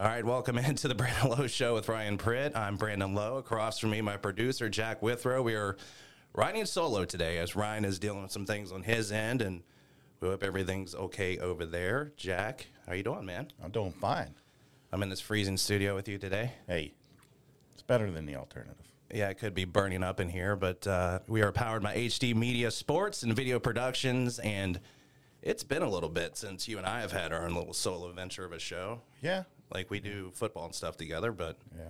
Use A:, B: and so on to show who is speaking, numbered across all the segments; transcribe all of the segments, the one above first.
A: All right, welcome into the Brandon Lowe Show with Ryan Pritt. I'm Brandon Lowe. Across from me, my producer, Jack Withrow. We are riding solo today as Ryan is dealing with some things on his end, and we hope everything's okay over there. Jack, how you doing, man?
B: I'm doing fine.
A: I'm in this freezing studio with you today.
B: Hey, it's better than the alternative.
A: Yeah, it could be burning up in here, but uh, we are powered by HD Media Sports and Video Productions, and it's been a little bit since you and I have had our own little solo venture of a show.
B: Yeah.
A: Like we do football and stuff together, but
B: Yeah.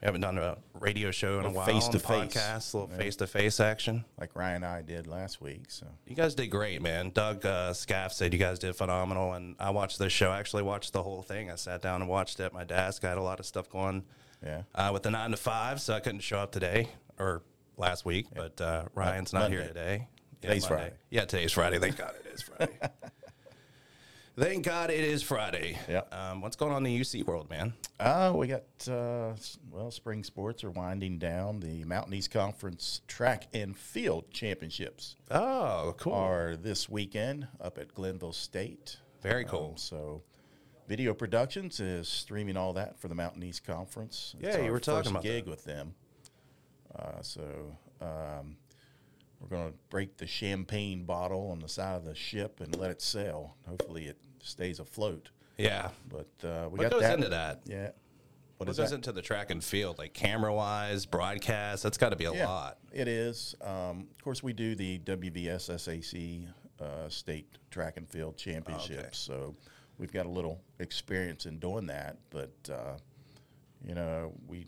A: we haven't done a radio show in a
B: Little
A: while.
B: face-to-face.
A: podcast, a little face to face action.
B: Like Ryan and I did last week. So
A: You guys did great, man. Doug uh, Scaff said you guys did phenomenal, and I watched the show. I actually watched the whole thing. I sat down and watched it at my desk. I had a lot of stuff going
B: yeah.
A: uh, with the nine to five, so I couldn't show up today or last week. But uh, Ryan's not here
B: Monday.
A: today. Yeah,
B: Today's
A: Monday.
B: Friday.
A: Yeah, today's Friday. Thank God it is Friday. Thank God it is Friday.
B: Yep.
A: Um, what's going on in the UC world, man?
B: Uh, we got, uh, s- well, spring sports are winding down. The Mountain East Conference Track and Field Championships
A: Oh, cool.
B: are this weekend up at Glenville State. Um,
A: Very cool.
B: So Video Productions is streaming all that for the Mountain East Conference.
A: Yeah, you
B: our
A: were talking
B: first
A: about that.
B: gig with them. Uh, so um, we're going to break the champagne bottle on the side of the ship and let it sail. Hopefully, it stays afloat.
A: yeah.
B: But uh, we
A: What
B: got
A: goes
B: that.
A: into that?
B: Yeah. What
A: What
B: is
A: goes
B: that?
A: into the track and field, like camera wise, broadcast? That's got to be a
B: Yeah,
A: lot.
B: It is. Um, of course, we do the WVSSAC uh, state track and field championships, so we've got a little experience in doing that. But uh, you know, we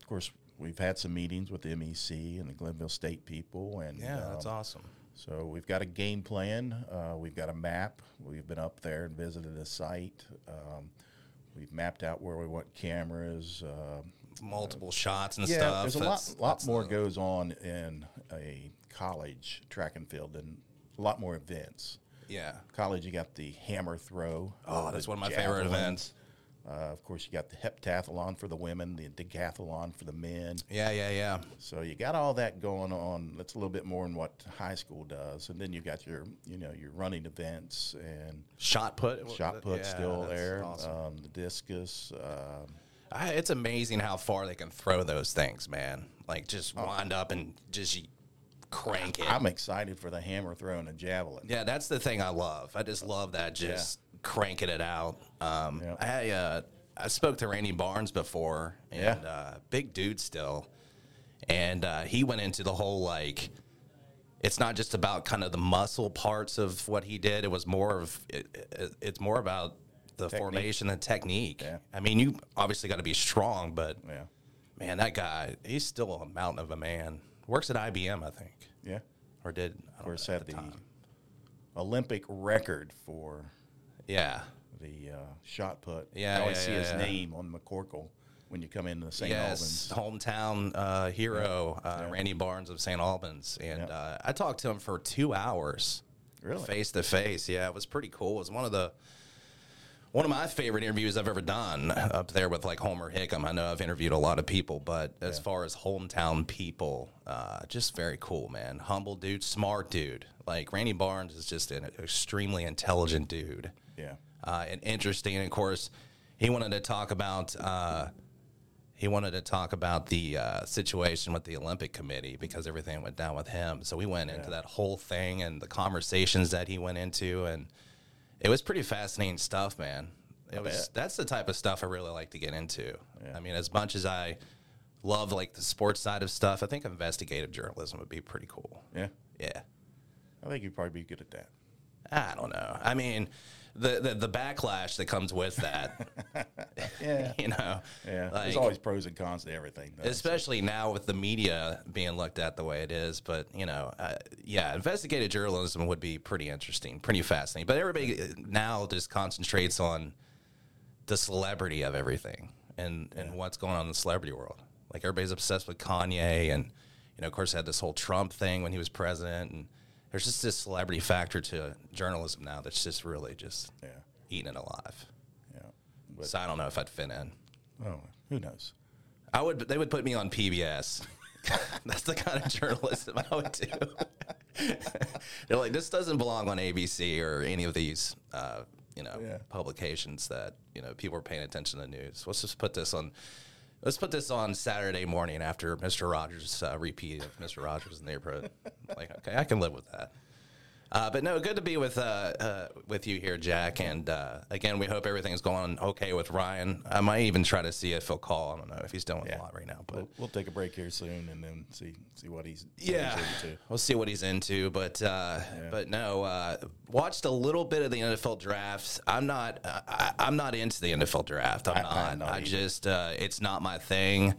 B: of course we've had some meetings with the MEC and the Glenville State people, and
A: Yeah,
B: um,
A: that's awesome.
B: so we've got a game plan. Uh, we've got a map. We've been up there and visited the site. Um, we've mapped out where we want cameras. Um
A: Multiple shots and
B: yeah,
A: stuff.
B: there's a
A: That's-
B: lot, lot
A: that's
B: more
A: the-
B: goes on in a college track and field and a lot more events.
A: yeah.
B: College, you got the hammer throw.
A: Oh,
B: uh,
A: that's
B: the
A: one of my favorite
B: javelin.
A: events.
B: Uh, of course, you got the heptathlon for the women, the decathlon for the men.
A: Yeah, yeah, yeah.
B: So you got all that going on. That's a little bit more than what high school does. And then you got your, you know, your running events and
A: Shot put.
B: shot put's
A: Yeah,
B: still
A: that's
B: there.
A: awesome.
B: Um, the discus. Um,
A: I, it's amazing how far they can throw those things, man. Like just
B: Oh.
A: wind up and just y- crank it.
B: I'm excited for the hammer throw and the javelin.
A: yeah, that's the thing I love. I just love that, just cranking it out. Um,
B: Yeah.
A: I uh, I spoke to Randy Barnes before,
B: Yeah.
A: and uh, big dude still, and uh, he went into the whole like. It's not just about kind of the muscle parts of what he did. It was more of it, it, it's more about the formation and technique.
B: Yeah.
A: I mean, you obviously got to be strong, but
B: Yeah.
A: Man, that guy, he's still a mountain of a man. Works at IBM, I think,
B: Yeah.
A: or did. I don't
B: Of course,
A: know.
B: had the, Olympic record for
A: Yeah.
B: the uh, shot put.
A: Yeah,
B: I always
A: yeah,
B: see
A: yeah,
B: his
A: yeah.
B: name on McCorkle when you come into the St.
A: Yes,
B: Albans.
A: hometown uh, hero, uh, Randy Barnes of St. Albans, and
B: Yeah.
A: uh, I talked to him for two hours,
B: Really?
A: face to face. Yeah, it was pretty cool. It was one of the one of my favorite interviews I've ever done, up there with like Homer Hickam. I know I've interviewed a lot of people, but as far as hometown people, uh, just very cool, man. Humble dude, smart dude. Like Randy Barnes is just an extremely intelligent dude
B: Yeah.
A: uh, and interesting. And of course, he wanted to talk about uh, he wanted to talk about the uh, situation with the Olympic Committee because everything went down with him. So we went into that whole thing and the conversations that he went into, and it was pretty fascinating stuff, man. It was
B: bet.
A: that's the type of stuff I really like to get into. I mean, as much as I love like the sports side of stuff, I think investigative journalism would be pretty cool.
B: Yeah.
A: Yeah.
B: I think you'd probably be good at that.
A: I don't know. I mean, the the, the backlash that comes with that.
B: Yeah.
A: you know,
B: Yeah.
A: like,
B: There's always pros and cons to everything. Though.
A: especially now with the media being looked at the way it is. But you know, uh, yeah, investigative journalism would be pretty interesting, pretty fascinating. But everybody uh, now just concentrates on the celebrity of everything and and what's going on in the celebrity world. Like everybody's obsessed with Kanye, and you know, of course, had this whole Trump thing when he was president, and there's just this celebrity factor to journalism now that's just really just
B: Yeah.
A: eating it alive.
B: Yeah. But,
A: So I don't know if I'd fit in.
B: oh, who knows?
A: I would. They would put me on PBS. That's the kind of journalism I would do. They're like, this doesn't belong on ABC or any of these uh, you know
B: Yeah.
A: publications that you know people are paying attention to the news. Let's just put this on. Let's put this on Saturday morning after Mr. Rogers uh, repeat of Mr. Rogers in the neighborhood. like, okay, I can live with that. Uh, but no, good to be with uh, uh, with you here, Jack. And uh, again, we hope everything's going okay with Ryan. I might even try to see if he'll call. I don't know if he's dealing with
B: Yeah.
A: a lot right now, but
B: We'll, we'll take a break here soon and then see see what he's what he's
A: yeah,
B: into.
A: we'll see what he's into. But uh, but no, uh, watched a little bit of the NFL draft. I'm not uh, I, I'm not into the NFL draft. I'm not.
B: I'm not
A: I
B: either.
A: just uh, it's not my thing.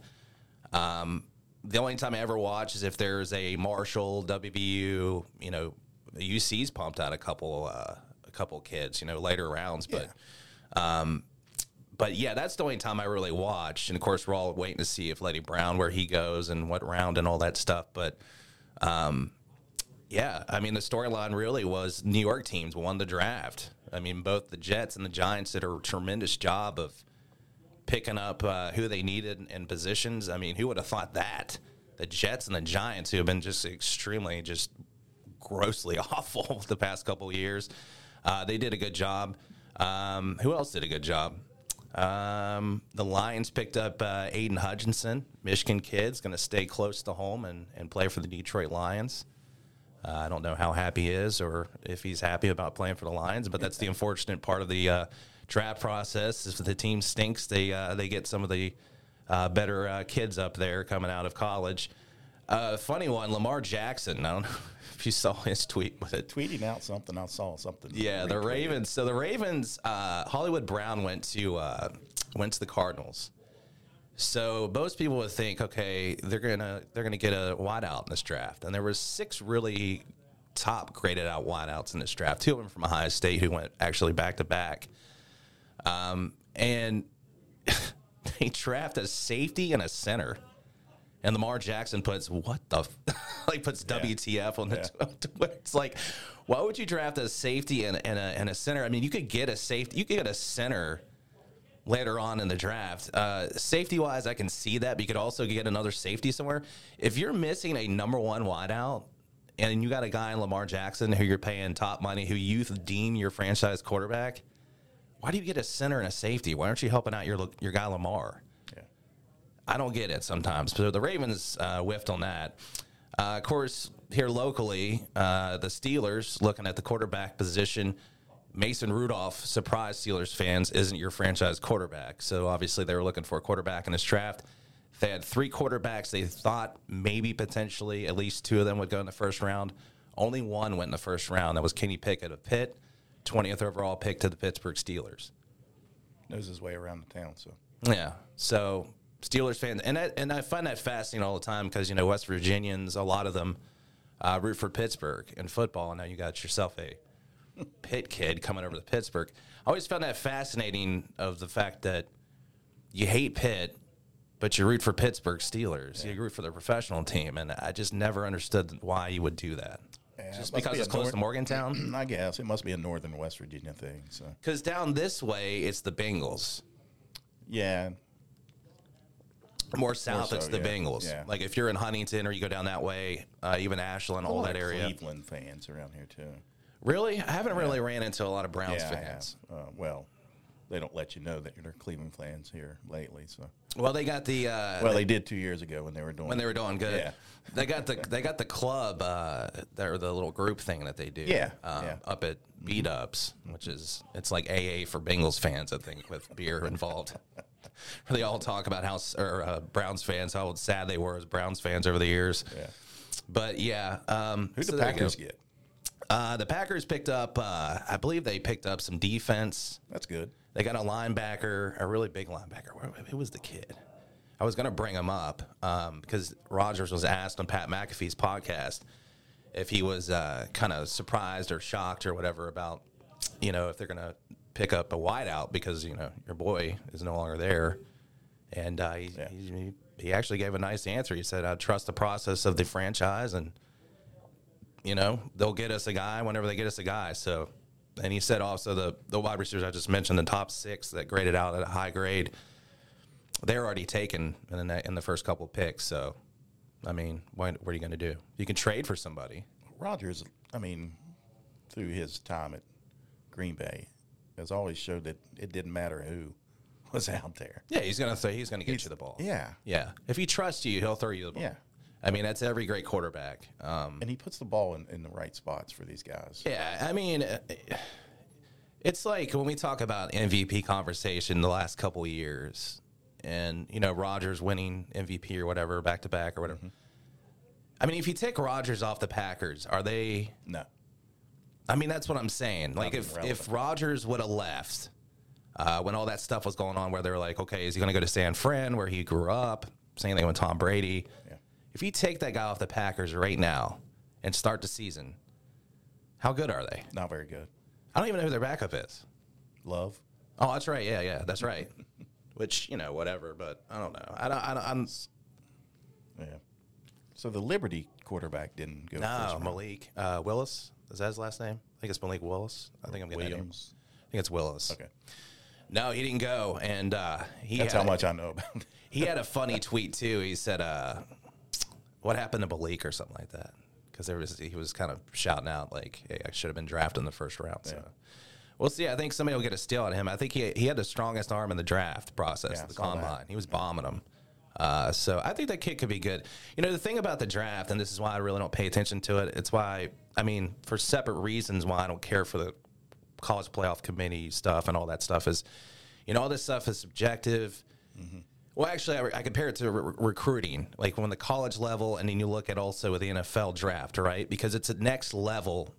A: Um, the only time I ever watch is if there's a Marshall WVU. You know, UC's pumped out a couple uh, a couple kids. You know, later rounds, but. Um, but yeah, that's the only time I really watched. And of course, we're all waiting to see if Letty Brown, where he goes and what round and all that stuff. But um, yeah, I mean, the storyline really was New York teams won the draft. I mean, both the Jets and the Giants did a tremendous job of picking up uh, who they needed in positions. I mean, who would have thought that? The Jets and the Giants, who have been just extremely, just grossly awful the past couple of years, uh, they did a good job. Um, who else did a good job? Um, the Lions picked up uh, Aiden Hutchinson, Michigan kid's going to stay close to home and, and play for the Detroit Lions. Uh, I don't know how happy he is or if he's happy about playing for the Lions, but that's the unfortunate part of the uh, draft process. If the team stinks, they uh, they get some of the uh, better uh, kids up there coming out of college. Uh, funny one, Lamar Jackson. I don't know if you saw his tweet with it.
B: Tweeting out something, I saw something.
A: Yeah, the
B: Retweeted.
A: Ravens. So the Ravens, uh, Hollywood Brown went to uh, went to the Cardinals. So most people would think, okay, they're gonna they're gonna get a wideout in this draft, and there were six really top graded out wideouts in this draft. Two of them from Ohio State who went actually back to back, Um, and they draft a safety and a center. And Lamar Jackson puts what the f-? like puts WTF on the Twitter. It's like, why would you draft a safety and, and a and a center? I mean, you could get a safety, you could get a center later on in the draft. Uh, safety wise, I can see that, but you could also get another safety somewhere. If you're missing a number one wideout, and you got a guy in Lamar Jackson who you're paying top money, who you deem your franchise quarterback, why do you get a center and a safety? Why aren't you helping out your your guy Lamar?
B: Yeah.
A: I don't get it sometimes. So the Ravens uh, whiffed on that. Uh, of course, here locally, uh, the Steelers looking at the quarterback position. Mason Rudolph, surprise Steelers fans, isn't your franchise quarterback. So obviously they were looking for a quarterback in this draft. They had three quarterbacks. They thought maybe potentially at least two of them would go in the first round. Only one went in the first round. That was Kenny Pickett of Pitt, 20th overall pick to the Pittsburgh Steelers.
B: Knows his way around the town. So
A: Yeah. So Steelers fans, and I, and I find that fascinating all the time because you know West Virginians, a lot of them uh, root for Pittsburgh in football, and now you got yourself a Pitt kid coming over to Pittsburgh. I always found that fascinating of the fact that you hate Pitt, but you root for Pittsburgh Steelers. You root for their professional team, and I just never understood why you would do that.
B: Yeah, it
A: just
B: must
A: because
B: be
A: it's
B: a
A: close
B: nor-
A: to Morgantown.
B: I guess it must be a northern West Virginia thing. So
A: Because down this way, it's the Bengals.
B: yeah,
A: more south,
B: so,
A: it's the
B: yeah.
A: Bengals.
B: Yeah.
A: Like if you're in Huntington or you go down that way, uh, even Ashland, all
B: a lot
A: that
B: of
A: area.
B: Cleveland fans around here too.
A: Really, I haven't really ran into a lot of Browns
B: Yeah, I
A: fans.
B: have. Uh, well, they don't let you know that you're Cleveland fans here lately. So
A: Well, they got the uh,
B: well, they did two years ago when they were doing
A: when they were doing good.
B: Yeah.
A: They got the they got the club uh, or the little group thing that they do.
B: Yeah,
A: um,
B: yeah.
A: up at Beat Ups, which is it's like AA for Bengals fans, I think, with beer involved. Where they all talk about how s- or uh, Browns fans how sad they were as Browns fans over the years.
B: Yeah.
A: But yeah, um,
B: Who
A: so
B: the
A: there you go.
B: Packers get?
A: Uh, the Packers picked up, uh, I believe they picked up some defense.
B: That's good.
A: They got a linebacker, a really big linebacker. Where- Who was the kid? I was going to bring him up um, because Rogers was asked on Pat McAfee's podcast if he was uh, kind of surprised or shocked or whatever about, you know, if they're going to pick up a wideout because, you know, your boy is no longer there. And uh, he,
B: Yeah.
A: he, he actually gave a nice answer. He said, I trust the process of the franchise and – you know, they'll get us a guy whenever they get us a guy. So, and he said also the the wide receivers I just mentioned, the top six that graded out at a high grade, they're already taken in the ne- in the first couple picks. So, I mean, what, what are you going to do? You can trade for somebody.
B: Rogers, I mean, through his time at Green Bay, has always showed that it didn't matter who was out there.
A: Yeah, he's gonna say he's gonna get you the ball.
B: Yeah.
A: Yeah. If he trusts you, he'll throw you the ball.
B: Yeah.
A: I mean, that's every great quarterback. Um,
B: And he puts the ball in, in the right spots for these guys.
A: yeah. I mean, uh, it's like when we talk about MVP conversation the last couple years, and you know Rogers winning MVP or whatever back to back or whatever.
B: Mm-hmm.
A: I mean, if you take Rogers off the Packers, are they?
B: No.
A: I mean, that's what I'm saying. Like, if
B: relevant.
A: if Rogers would have left uh, when all that stuff was going on, where they were like, okay, is he going to go to San Fran, where he grew up? Same thing with Tom Brady.
B: Yeah.
A: If you take that guy off the Packers right now and start the season, how good are they?
B: Not very good.
A: I don't even know who their backup is.
B: Love.
A: Oh, that's right. Yeah, yeah, that's right. Which you know, whatever. But I don't know. I don't. I don't I'm
B: Yeah. So the Liberty quarterback didn't go
A: no
B: first round.
A: Malik uh, Willis. Is that his last name? I think it's Malik Willis. I think I'm getting that name.
B: Williams.
A: I think it's Willis.
B: Okay.
A: No, he didn't go, and uh, he
B: That's
A: had,
B: how much I know about it.
A: He had a funny tweet too. He said, uh, "What happened to Malik or something like that?" Because there was he was kind of shouting out like, "Hey, I should have been drafted in the first round." So. We'll see. I think somebody will get a steal on him. I think he he had the strongest arm in the draft process,
B: Yeah, I
A: the
B: saw that.
A: combine. He was bombing them. Uh, so I think that kid could be good. You know, the thing about the draft, and this is why I really don't pay attention to it. It's why I mean, for separate reasons, why I don't care for the college playoff committee stuff and all that stuff is, you know, all this stuff is subjective. Well, actually, I, I compare it to re- recruiting, like when the college level, and then you look at also with the NFL draft, right? Because it's a next level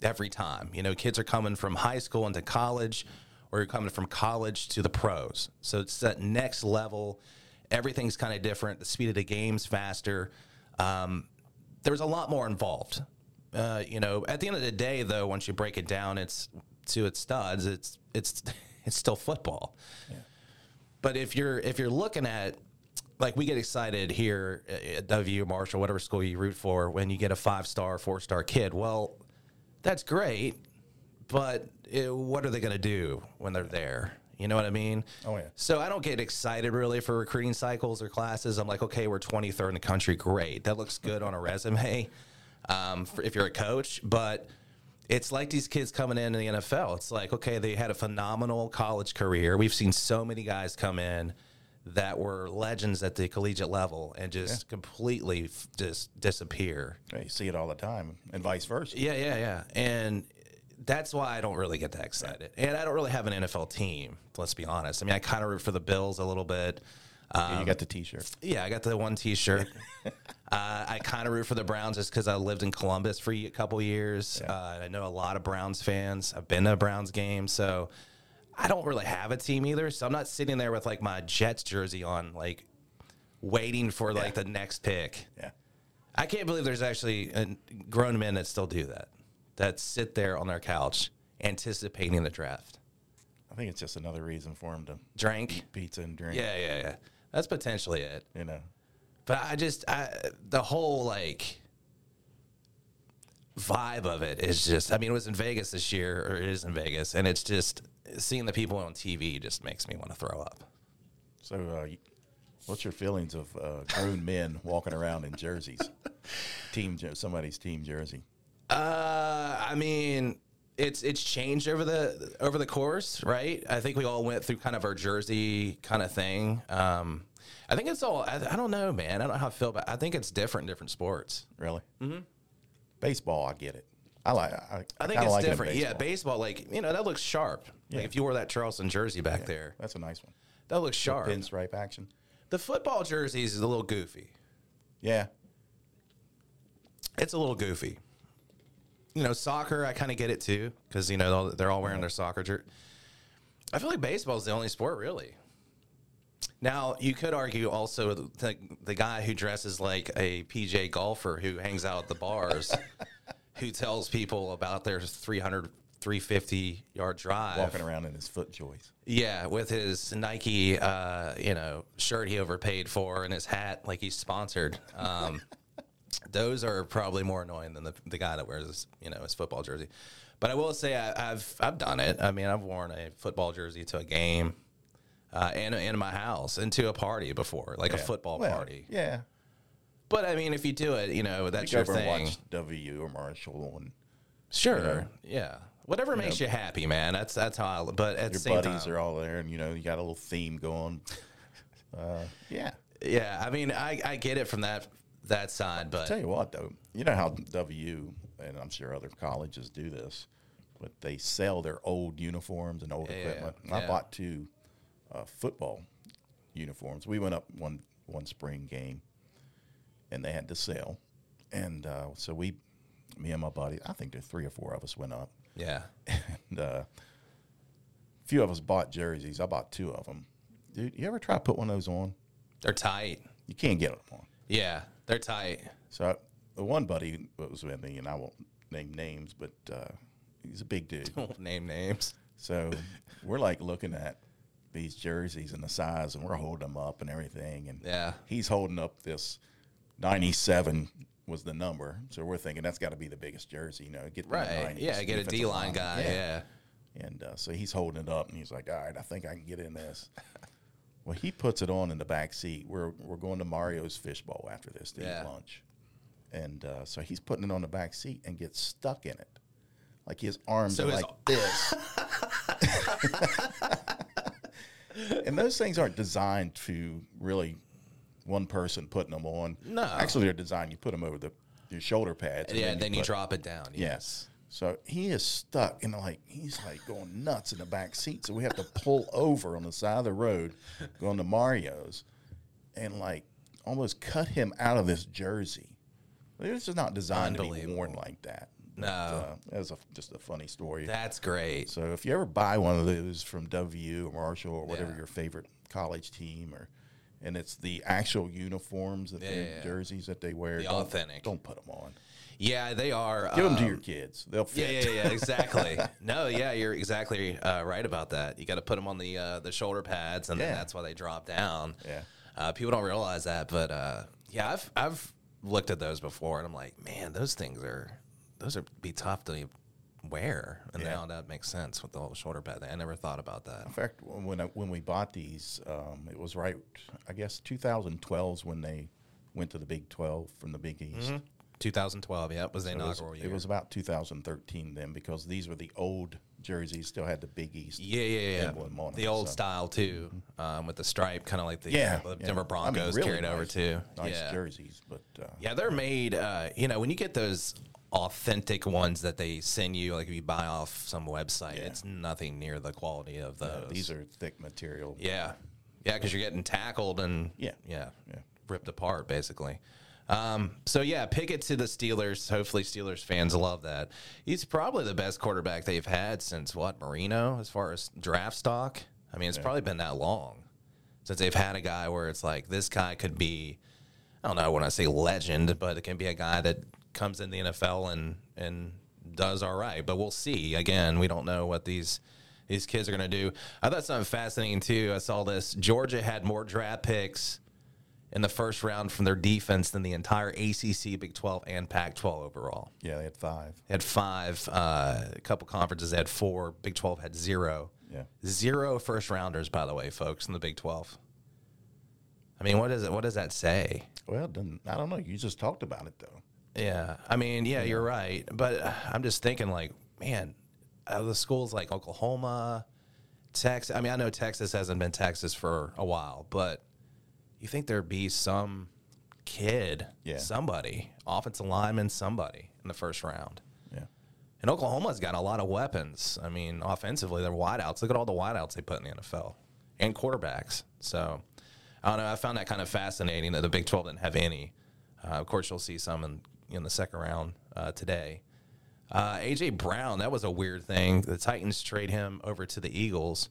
A: every time. You know, kids are coming from high school into college, or you're coming from college to the pros. So it's that next level. Everything's kind of different. The speed of the game's faster. Um, there's a lot more involved. Uh, you know, at the end of the day, though, once you break it down, it's to its studs. It's it's it's still football. But if you're if you're looking at like we get excited here at WU Marshall, whatever school you root for, when you get a five star, four star kid, well, that's great. But eh, what are they going to do when they're there? You know what I mean?
B: Oh, yeah.
A: So I don't get excited really for recruiting cycles or classes. I'm like, okay, we're 23rd in the country. Great. That looks good on a resume um, for if you're a coach. But it's like these kids coming in in the NFL. It's like, okay, they had a phenomenal college career. We've seen so many guys come in that were legends at the collegiate level and just completely f- just disappear.
B: Yeah, You see it all the time, and vice versa.
A: Yeah, yeah, yeah. And that's why I don't really get that excited. And I don't really have an NFL team, let's be honest. I mean, I kind of root for the Bills a little bit.
B: you
A: Um,
B: got the T-shirt.
A: Yeah, I got the one T-shirt. uh, I kind of root for the Browns just because I lived in Columbus for a couple years. Uh, and I know a lot of Browns fans. I've been to a Browns game, so I don't really have a team either. So I'm not sitting there with like my Jets jersey on, like waiting for like the next pick.
B: Yeah.
A: I can't believe there's actually uh, grown men that still do that, that sit there on their couch anticipating the draft.
B: I think it's just another reason for him to
A: Drink.
B: pizza and drink.
A: Yeah, yeah, yeah. That's potentially it.
B: You know.
A: but I just I, the whole like vibe of it is just I mean it was in Vegas this year or it is in Vegas and it's just seeing the people on TV just makes me want to throw up.
B: So, uh, y- what's your feelings of uh, grown men walking around in jerseys, team jer- somebody's team jersey?
A: Uh, I mean, it's it's changed over the over the course, right? I think we all went through kind of our jersey kind of thing. Um, I think it's all. I, I don't know, man. I don't know how I feel about. I think it's different in different sports.
B: Really? Mm-hmm. Baseball, I get it. I like. I,
A: I think
B: kinda
A: it's
B: like it in
A: different. yeah,
B: baseball.
A: baseball, like you know, that looks sharp.
B: Yeah.
A: Like if you wore that Charleston jersey back there,
B: That's a nice one.
A: that looks sharp.
B: Pinstripe action.
A: The football jerseys is a little goofy.
B: Yeah.
A: It's a little goofy. You know, soccer, I kind of get it too because you know they're all- they're all wearing their soccer jer I feel like baseball is the only sport really. Now you could argue also the, the guy who dresses like a PJ golfer who hangs out at the bars, who tells people about their 300, 350 yard drive.
B: Walking around in his foot joys.
A: Yeah, with his Nike, uh, you know, shirt he overpaid for and his hat, like he's sponsored. Um, those are probably more annoying than the, the guy that wears, his, you know, his football jersey. But I will say I, I've I've done it. I mean, I've worn a football jersey to a game, uh, and in my house, and to a party before, like a
B: Yeah.
A: football
B: Well,
A: party.
B: Yeah.
A: But I mean, if you do it, you know, that's
B: Go
A: your
B: over and
A: thing.
B: watch W or Marshall and
A: Sure. Yeah. Whatever makes you happy, man. That's that's how. I, but at the
B: Your
A: same
B: buddies
A: time,
B: are all there, and you know you got a little theme going. Uh, yeah.
A: yeah. I mean, I, I get it from that that side, but
B: Tell you what, though, you know how WU and I'm sure other colleges do this, but they sell their old uniforms and old equipment. And I
A: yeah.
B: bought two uh, football uniforms. We went up one one spring game, and they had the sale, and uh, so we, me and my buddy, I think there were three or four of us went up,
A: yeah,
B: and uh, few of us bought jerseys. I bought two of them. Dude, you ever try to put one of those on?
A: they're tight.
B: You can't get them on.
A: Yeah, they're tight.
B: So I, the one buddy that was with me, and I won't name names, but uh, he's a big dude.
A: Won't name names.
B: So we're like looking at these jerseys and the size, and we're holding them up and everything. And
A: Yeah.
B: he's holding up this 97 was the number. So we're thinking that's got to be the biggest jersey, you know, get them in the
A: Right.
B: 90s,
A: Yeah. Get a
B: defensive
A: D line
B: lineman.
A: guy.
B: Yeah.
A: Yeah.
B: And uh, so he's holding it up, and he's like, "All right, I think I can get in this." well, he puts it on in the back seat. We're we're going to Mario's Fishbowl after this to
A: Yeah.
B: eat lunch, and uh, so he's putting it on the back seat and gets stuck in it, like his arms
A: So
B: are
A: his-
B: like this. and those things aren't designed to really one person putting them on.
A: No.
B: actually, they're designed. You put them over the your shoulder pads. and
A: Yeah. Then you
B: put-
A: drop it down.
B: Yes. So he is stuck and like he's like going nuts in the back seat. So we have to pull over on the side of the road, going to Mario's, and like almost cut him out of this jersey. This is not designed to be worn like that.
A: No.
B: uh, that was a, just a funny story.
A: That's great.
B: so if you ever buy one of those from WU or Marshall or whatever
A: Yeah.
B: your favorite college team or, and it's the actual uniforms that their
A: yeah, yeah.
B: jerseys that they wear.
A: The
B: don't-
A: authentic.
B: Don't put them on.
A: Yeah, they are.
B: Give them
A: um,
B: to your kids. They'll fit.
A: Yeah, yeah, yeah, exactly. no, yeah, you're exactly uh, right about that. You got to put them on the uh, the shoulder pads, and then
B: Yeah.
A: that's why they drop down.
B: Yeah.
A: uh, people don't realize that, but uh, yeah, I've I've looked at those before, and I'm like, man, those things are those are be tough to wear, and
B: Yeah.
A: now that makes sense with the whole shoulder pad. I never thought about that.
B: In fact, when I, when we bought these, um, it was right, I guess, 2012 is when they went to the Big 12 from the Big East.
A: 2012, yeah, was the
B: It,
A: Mm-hmm.
B: was,
A: inaugural year.
B: it was about 2013 then because these were the old jerseys, still had the Big East.
A: yeah, yeah,
B: emblem
A: yeah.
B: on
A: The
B: it,
A: old
B: so. Mm-hmm.
A: style too, um, with the stripe, kind of like the,
B: Yeah,
A: the
B: yeah.
A: Denver
B: I mean,
A: Broncos
B: really
A: carried over
B: nice-
A: too.
B: Nice
A: yeah.
B: jerseys, but uh,
A: Yeah, they're made. Uh, you know, when you get those authentic ones that they send you, like if you buy off some website, it's nothing near the quality of those.
B: these are thick material.
A: yeah, yeah, because you're getting tackled and
B: Yeah.
A: yeah,
B: Yeah.
A: ripped apart basically. Um, so yeah, pick it to the Steelers. Hopefully, Steelers fans love that. He's probably the best quarterback they've had since what Marino, as far as draft stock. I mean, it's probably been that long since they've had a guy where it's like this guy could be. I don't know when I say legend, but it can be a guy that comes in the NFL and and does all right. But we'll see. Again, we don't know what these these kids are going to do. I thought something fascinating too. I saw this. Georgia had more draft picks in the first round from their defense than the entire ACC, Big 12, and Pac 12 overall.
B: Yeah, they had five.
A: They had five, uh, a couple conferences had four. Big 12 had zero.
B: Yeah.
A: Zero first rounders, by the way, folks, in the Big 12. I mean, what, is it, what does that say?
B: Well, it doesn't- I don't know. You just talked about it though.
A: Yeah. I mean, yeah, you're right. But uh, I'm just thinking, like, man, out of the schools like Oklahoma, Texas. I mean, I know Texas hasn't been Texas for a while, but you think there'd be some kid,
B: Yeah.
A: somebody, offensive lineman, somebody in the first round.
B: Yeah.
A: And Oklahoma's got a lot of weapons. I mean, offensively, they're wideouts. Look at all the wideouts they put in the NFL and quarterbacks. So I don't know. I found that kind of fascinating that the Big 12 didn't have any. Uh, of course, you'll see some in, in the second round uh, today. Uh, AJ Brown, that was a weird thing. The Titans trade him over to the Eagles,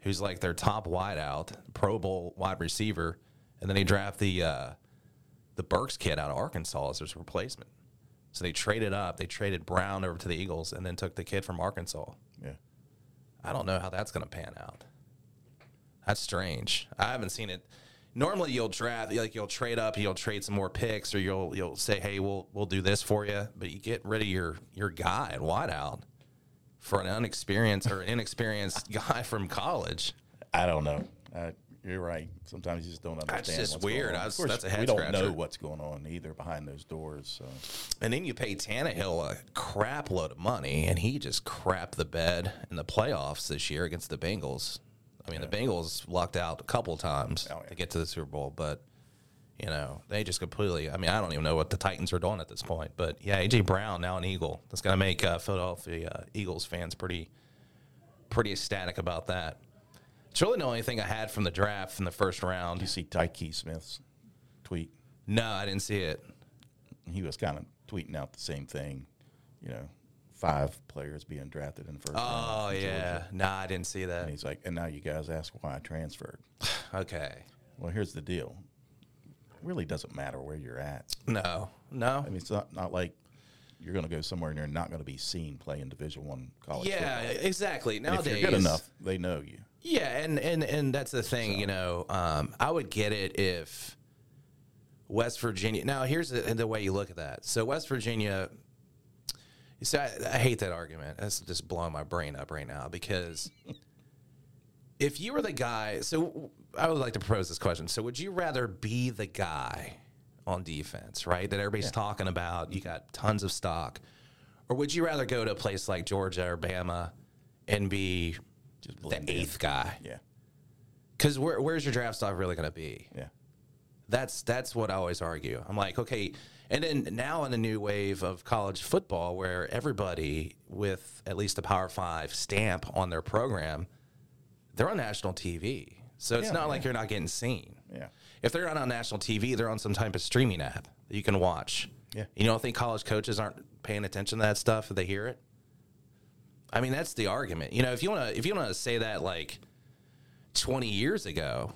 A: who's like their top wideout, Pro Bowl wide receiver, and then they draft the uh, the Burks kid out of Arkansas as his replacement. So they traded up. They traded Brown over to the Eagles and then took the kid from Arkansas.
B: Yeah.
A: I don't know how that's going to pan out. That's strange. I haven't seen it. Normally, you'll draft like you'll trade up, you'll trade some more picks, or you'll you'll say, "Hey, we'll we'll do this for you," but you get rid of your your guy at wideout for an unexperienced or inexperienced guy from college.
B: I don't know. I, you're right. Sometimes you just don't understand.
A: just
B: what's going
A: weird.
B: on.
A: I was-
B: of course,
A: that's a head
B: we don't know
A: scratcher.
B: what's going on either behind those doors. So
A: And then you pay Tannehill a crap load of money, and he just crapped the bed in the playoffs this year against the Bengals. I mean, the Bengals lucked out a couple times
B: Oh, yeah.
A: to get to the Super Bowl, but you know they just completely. I mean, I don't even know what the Titans are doing at this point. But yeah, AJ Brown now an Eagle. That's going to make uh, Philadelphia uh, Eagles fans pretty pretty ecstatic about that. It's really the only thing I had from the draft from the first round.
B: you see Tyke Smith's tweet.
A: No, I didn't see it.
B: He was kind of tweeting out the same thing. You know, five players being drafted in the first round.
A: Oh yeah, no, I didn't see
B: And
A: that.
B: he's like, and now you guys ask why I transferred.
A: Okay.
B: Well, here's the deal. It really doesn't matter where you're at.
A: No, no.
B: I mean, it's not, not like you're going to go somewhere and you're not going to be seen playing Division One college.
A: yeah, exactly.
B: football.
A: Nowadays,
B: if you're good enough, they know you.
A: Yeah, and and and that's the thing. You know, um, I would get it if West Virginia. Now, here's the, the way you look at that. So, West Virginia. You see, I, I hate that argument. That's just blowing my brain up right now because if you were the guy, so I would like to propose this question. So, would you rather be the guy on defense, right? That everybody's talking about. You got tons of stock, or would you rather go to a place like Georgia or Bama and be
B: Just
A: the
B: blend in.
A: eighth guy?
B: Yeah,
A: Because where, where's your draft stock really going to be?
B: yeah.
A: That's that's what I always argue. I'm like, okay, and then now in the new wave of college football, where everybody with at least a Power Five stamp on their program, they're on national TV, so it's
B: Yeah,
A: not like you're not getting seen.
B: Yeah.
A: If they're not on national TV, they're on some type of streaming app that you can watch.
B: Yeah.
A: You don't think college coaches aren't paying attention to that stuff if they hear it? I mean, that's the argument. You know, if you want to if you want to say that like 20 years ago,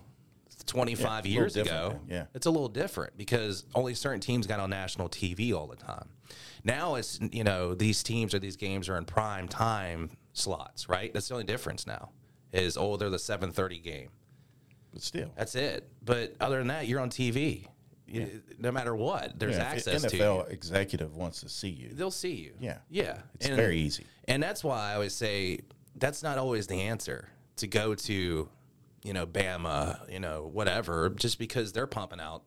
A: 25
B: Yeah, it's a
A: years
B: little different
A: ago,
B: then, yeah.
A: it's a little different because only certain teams got on national TV all the time. Now it's, you know, these teams or these games are in prime time slots, right? That's the only difference now. Is oh, they're the 7:30 game.
B: But still,
A: That's it. But other than that, you're on TV. You- No matter what, there's
B: yeah, if an
A: access to you.
B: NFL executive wants to see you.
A: They'll see you.
B: Yeah.
A: Yeah.
B: It's very easy.
A: And that's why I always say that's not always the answer to go to, you know, Bama, you know, whatever, just because they're pumping out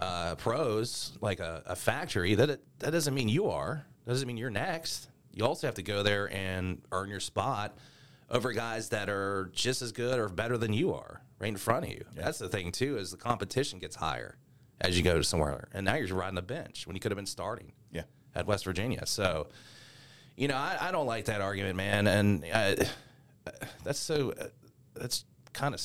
A: uh, pros like a, a factory. That that doesn't mean you are. Doesn't mean you're next. You also have to go there and earn your spot over guys that are just as good or better than you are, right in front of you. That's the thing too, is the competition gets higher as you go to somewhere, and now you're riding the bench when you could have been starting
B: Yeah,
A: at West Virginia. So, you know, I, I don't like that argument, man. And uh, that's so, uh, that's kind of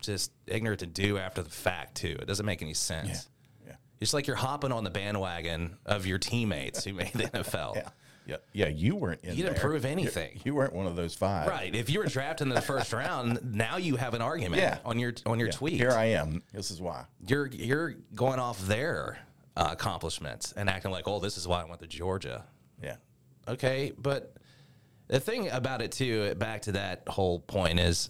A: just ignorant to do after the fact, too. It doesn't make any sense.
B: yeah,
A: It's like you're hopping on the bandwagon of your teammates who made the NFL.
B: yeah, yeah, yeah. You weren't in.
A: You didn't
B: there.
A: prove anything.
B: You weren't one of those five.
A: Right. If you were drafted in the first round, now you have an argument
B: Yeah.
A: on your on your tweet.
B: Here I am. This is why.
A: you're you're going off their uh, accomplishments and acting like, oh, this is why I went to Georgia.
B: Yeah,
A: okay but the thing about it too back to that whole point is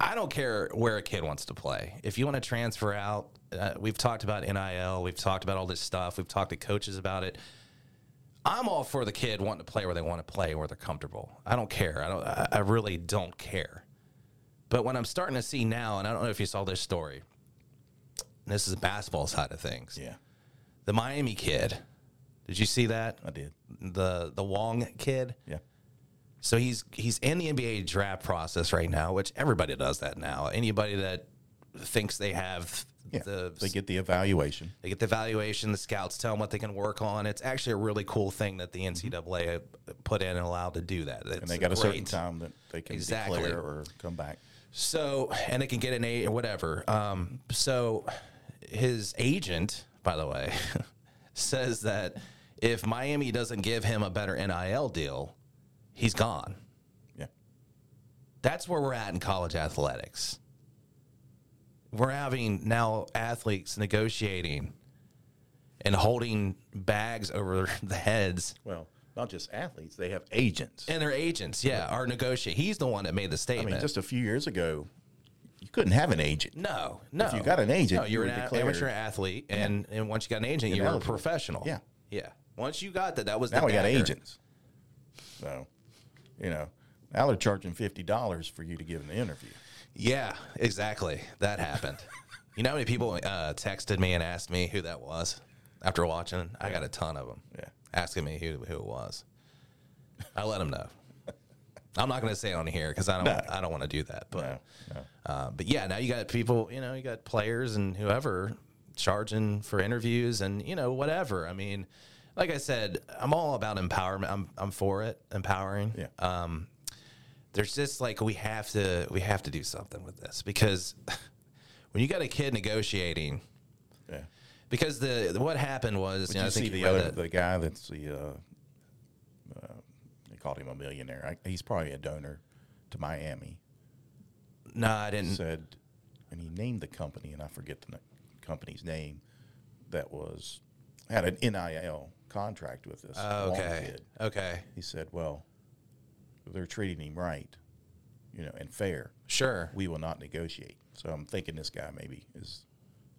A: i don't care where a kid wants to play if you want to transfer out uh, we've talked about nil we've talked about all this stuff we've talked to coaches about it i'm all for the kid wanting to play where they want to play where they're comfortable i don't care i don't i, I really don't care but when i'm starting to see now and i don't know if you saw this story and this is the basketball side of things
B: yeah.
A: the miami kid did you see that
B: I did.
A: the the Wong kid.
B: Yeah,
A: So he's he's in the NBA draft process right now, which everybody does that now. Anybody that thinks they have
B: yeah.
A: the
B: they get the evaluation.
A: they get the valuation, the scouts tell them what they can work on. It's actually a really cool thing that the NCAA put in and allowed to do that.
B: Mm-hmm. and they got a certain time that they can
A: Exactly.
B: declare or come back.
A: So, and it can get an A or whatever. Um, so, his agent, by the way, says that if Miami doesn't give him a better NIL deal, he's gone.
B: Yeah,
A: That's where we're at in college athletics. We're having now athletes negotiating and holding bags over the heads.
B: well, not just athletes; they have agents.
A: And their agents, yeah, are negotiating. He's the one that made the
B: I
A: statement.
B: mean, just a few years ago, you couldn't have an agent.
A: no, no.
B: If you got an agent,
A: No, you're
B: you
A: an
B: were
A: a-
B: declared-
A: amateur athlete, and, and once you got an agent, you were a
B: eligible.
A: professional.
B: Yeah.
A: yeah. Once you got that, that was
B: Now
A: the
B: we got
A: dagger.
B: agents. So, you know, Now they're charging fifty dollars for you to give an interview.
A: Yeah, exactly. That happened. you know how many people uh, texted me and asked me who that was after watching? I got a ton of them
B: Yeah.
A: asking me who, who it was. I let them know. I'm not going to say it on here because I don't I don't want to do that. But
B: No, no.
A: Uh, but yeah, now you got people, you know, you got players and whoever charging for interviews and you know whatever. I mean, like I said, I'm all about empowerment. I'm I'm for it, empowering.
B: Yeah.
A: Um, there's just like we have to we have to do something with this because when you got a kid negotiating,
B: Yeah.
A: because the what happened was you
B: Did
A: know,
B: you
A: I think
B: see
A: you
B: the
A: read
B: other
A: that-
B: the guy that's the uh, uh, they called him a millionaire. I, he's probably a donor to Miami.
A: no, I didn't.
B: Said, and he named the company, and I forget the n- company's name. That was had an NIL contract with this
A: Oh,
B: long
A: okay,
B: kid.
A: okay,
B: He said, "Well, they're treating him right, you know, and fair.
A: sure.
B: We will not negotiate." So I'm thinking this guy maybe is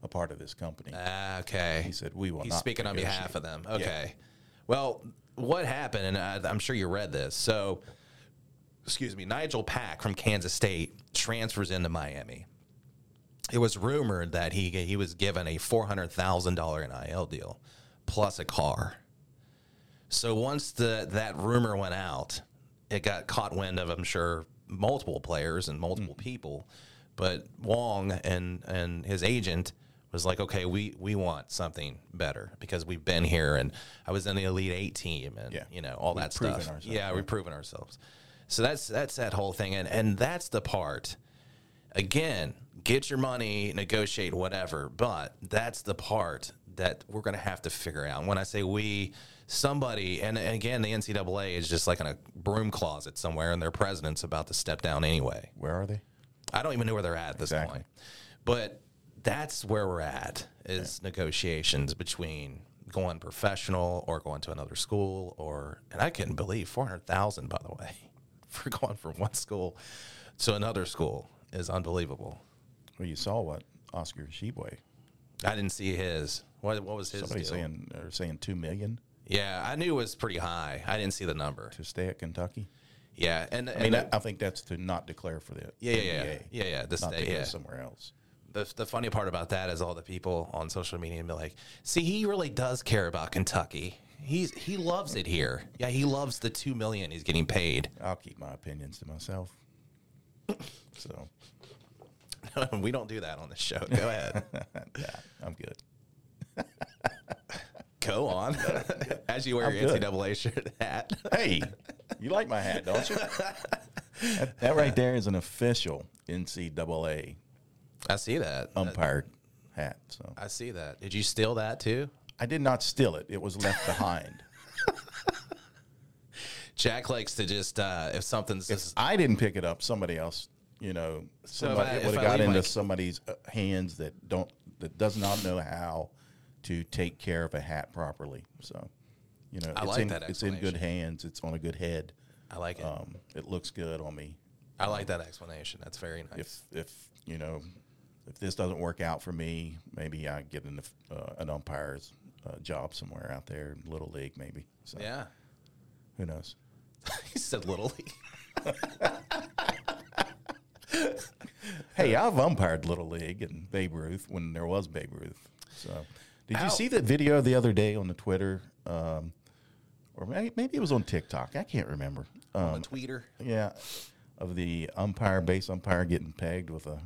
B: a part of this company.
A: Ah, okay.
B: He said, "We will
A: He's
B: not."
A: speaking on
B: negotiate."
A: behalf of them. Okay. Well, what happened, and I, I'm sure you read this. So, excuse me, Nigel Pack from Kansas State transfers into Miami. It was rumored that he he was given a four hundred thousand dollar NIL deal, plus a car. So once the that rumor went out, it got caught wind of, I'm sure, multiple players and multiple
B: Mm.
A: people. But Wong and and his agent was like, okay, we we want something better because we've been here and I was in the Elite Eight team and
B: Yeah.
A: you know all that
B: proven
A: stuff.
B: ourselves,
A: yeah, we've proven ourselves. So that's that's that whole thing, and and that's the part. Again, get your money, negotiate whatever, but that's the part that we're going to have to figure out. And when I say we, somebody, and and again, the NCAA is just like in a broom closet somewhere, and their president's about to step down anyway.
B: Where are they?
A: I don't even know where they're at at this
B: Exactly.
A: point. But that's where we're at is negotiations between going professional or going to another school or and I couldn't believe four hundred thousand by the way for going from one school to another school is unbelievable.
B: Well, you saw what Oscar Sheboy.
A: I didn't see his. What what was his?
B: Somebody
A: deal?
B: saying they're saying two million
A: yeah, I knew it was pretty high. I didn't see the number.
B: to stay at Kentucky.
A: Yeah, and,
B: I mean, I, I think that's to not declare for the
A: yeah, yeah, yeah,
B: NBA,
A: yeah, yeah. The
B: not
A: state,
B: to go
A: yeah.
B: somewhere else.
A: the, the funny part about that is all the people on social media be like, see, he really does care about Kentucky. He's he loves it here. Yeah, he loves the two million he's getting paid.
B: I'll keep my opinions to myself. So
A: we don't do that on this show. Go ahead.
B: yeah, I'm good.
A: Go on. As you wear
B: I'm
A: your
B: good.
A: NCAA shirt hat.
B: Hey, you like my hat, don't you? That, that right there is an official NCAA
A: I see that.
B: umpired hat. So
A: I see that. Did you steal that too?
B: I did not steal it; it was left behind.
A: Jack likes to just uh, if something's just,
B: I didn't pick it up. Somebody else, you know, somebody,
A: I-
B: it
A: if
B: would
A: I
B: have got
A: leave,
B: into
A: like-
B: somebody's uh, hands that don't that does not know how to take care of a hat properly. So, you know, it's
A: like
B: in,
A: that
B: it's in good
A: explanation.
B: hands. It's on a good head.
A: I like it.
B: Um, it looks good on me.
A: I like that explanation. That's very nice.
B: If if you know if this doesn't work out for me, maybe I get an uh, an umpire's uh, job somewhere out there, in little league maybe. So
A: yeah.
B: who knows?
A: he said little league.
B: Hey, I've umpired Little League and Babe Ruth when there was Babe Ruth. So, did
A: Ow.
B: you see that video the other day on the Twitter, um, or may- maybe it was on TikTok? I can't remember. Uh,
A: on the tweeter.
B: yeah, of the umpire, base umpire, getting pegged with a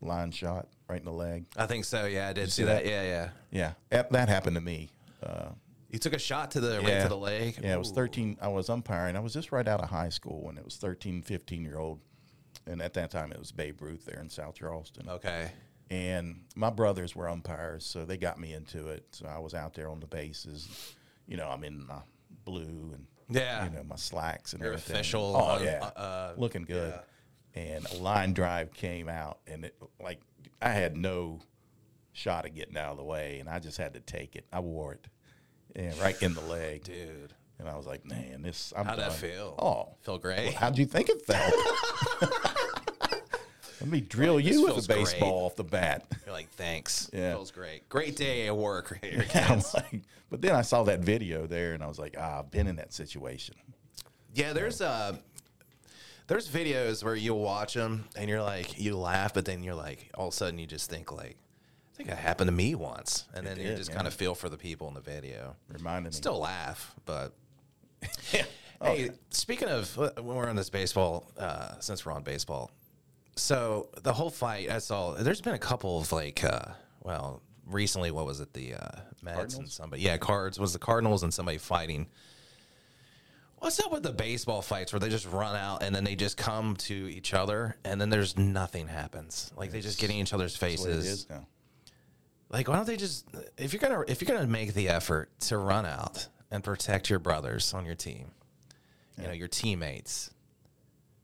B: line shot right in the leg.
A: I think so. Yeah, I did see
B: that?
A: that. Yeah, yeah.
B: Yeah, that, that happened to me. Uh,
A: He took a shot to the right to the leg.
B: Yeah, it was
A: Ooh.
B: 13. I was umpiring. I was just right out of high school when it was 13, 15 year old, and at that time it was Babe Ruth there in South Charleston.
A: Okay.
B: and my brothers were umpires, so they got me into it. So I was out there on the bases. You know, I'm in my blue and
A: Yeah.
B: you know my slacks and everything.
A: official,
B: Oh
A: uh,
B: yeah,
A: uh, uh,
B: looking good. And a line drive came out, and it like I had no shot of getting out of the way, and I just had to take it. I wore it, and right in the leg,
A: Dude.
B: and I was like, man, this. I'm
A: How'd that
B: done."
A: feel?
B: Oh,
A: Feel great.
B: How'd you think it felt? Let me drill
A: this
B: you with
A: feels
B: a
A: great.
B: baseball off the bat.
A: You're like, thanks.
B: Yeah.
A: Feels great. Great day at work right here.
B: I'm like, but then I saw that video there, and I was like, ah, I've been in that situation.
A: Yeah, there's uh There's videos where you'll watch them and you're like, you laugh, but then you're like, all of a sudden you just think like, I think that happened to me once, and then you
B: did,
A: just
B: yeah.
A: kind of feel for the people in the video.
B: Reminded me.
A: Still laugh, but hey, speaking of uh, when we're on this baseball, uh, since we're on baseball, so the whole fight I saw. There's been a couple of like, uh, well, recently what was it the uh, Mets and somebody? Yeah, Cards was the Cardinals and somebody fighting. What's up with the baseball fights where they just run out and then they just come to each other and then there's nothing happens? Like they just get in each other's
B: That's the way it
A: faces
B: is now.
A: like why don't they just if you're gonna if you're gonna make the effort to run out and protect your brothers on your team you know your teammates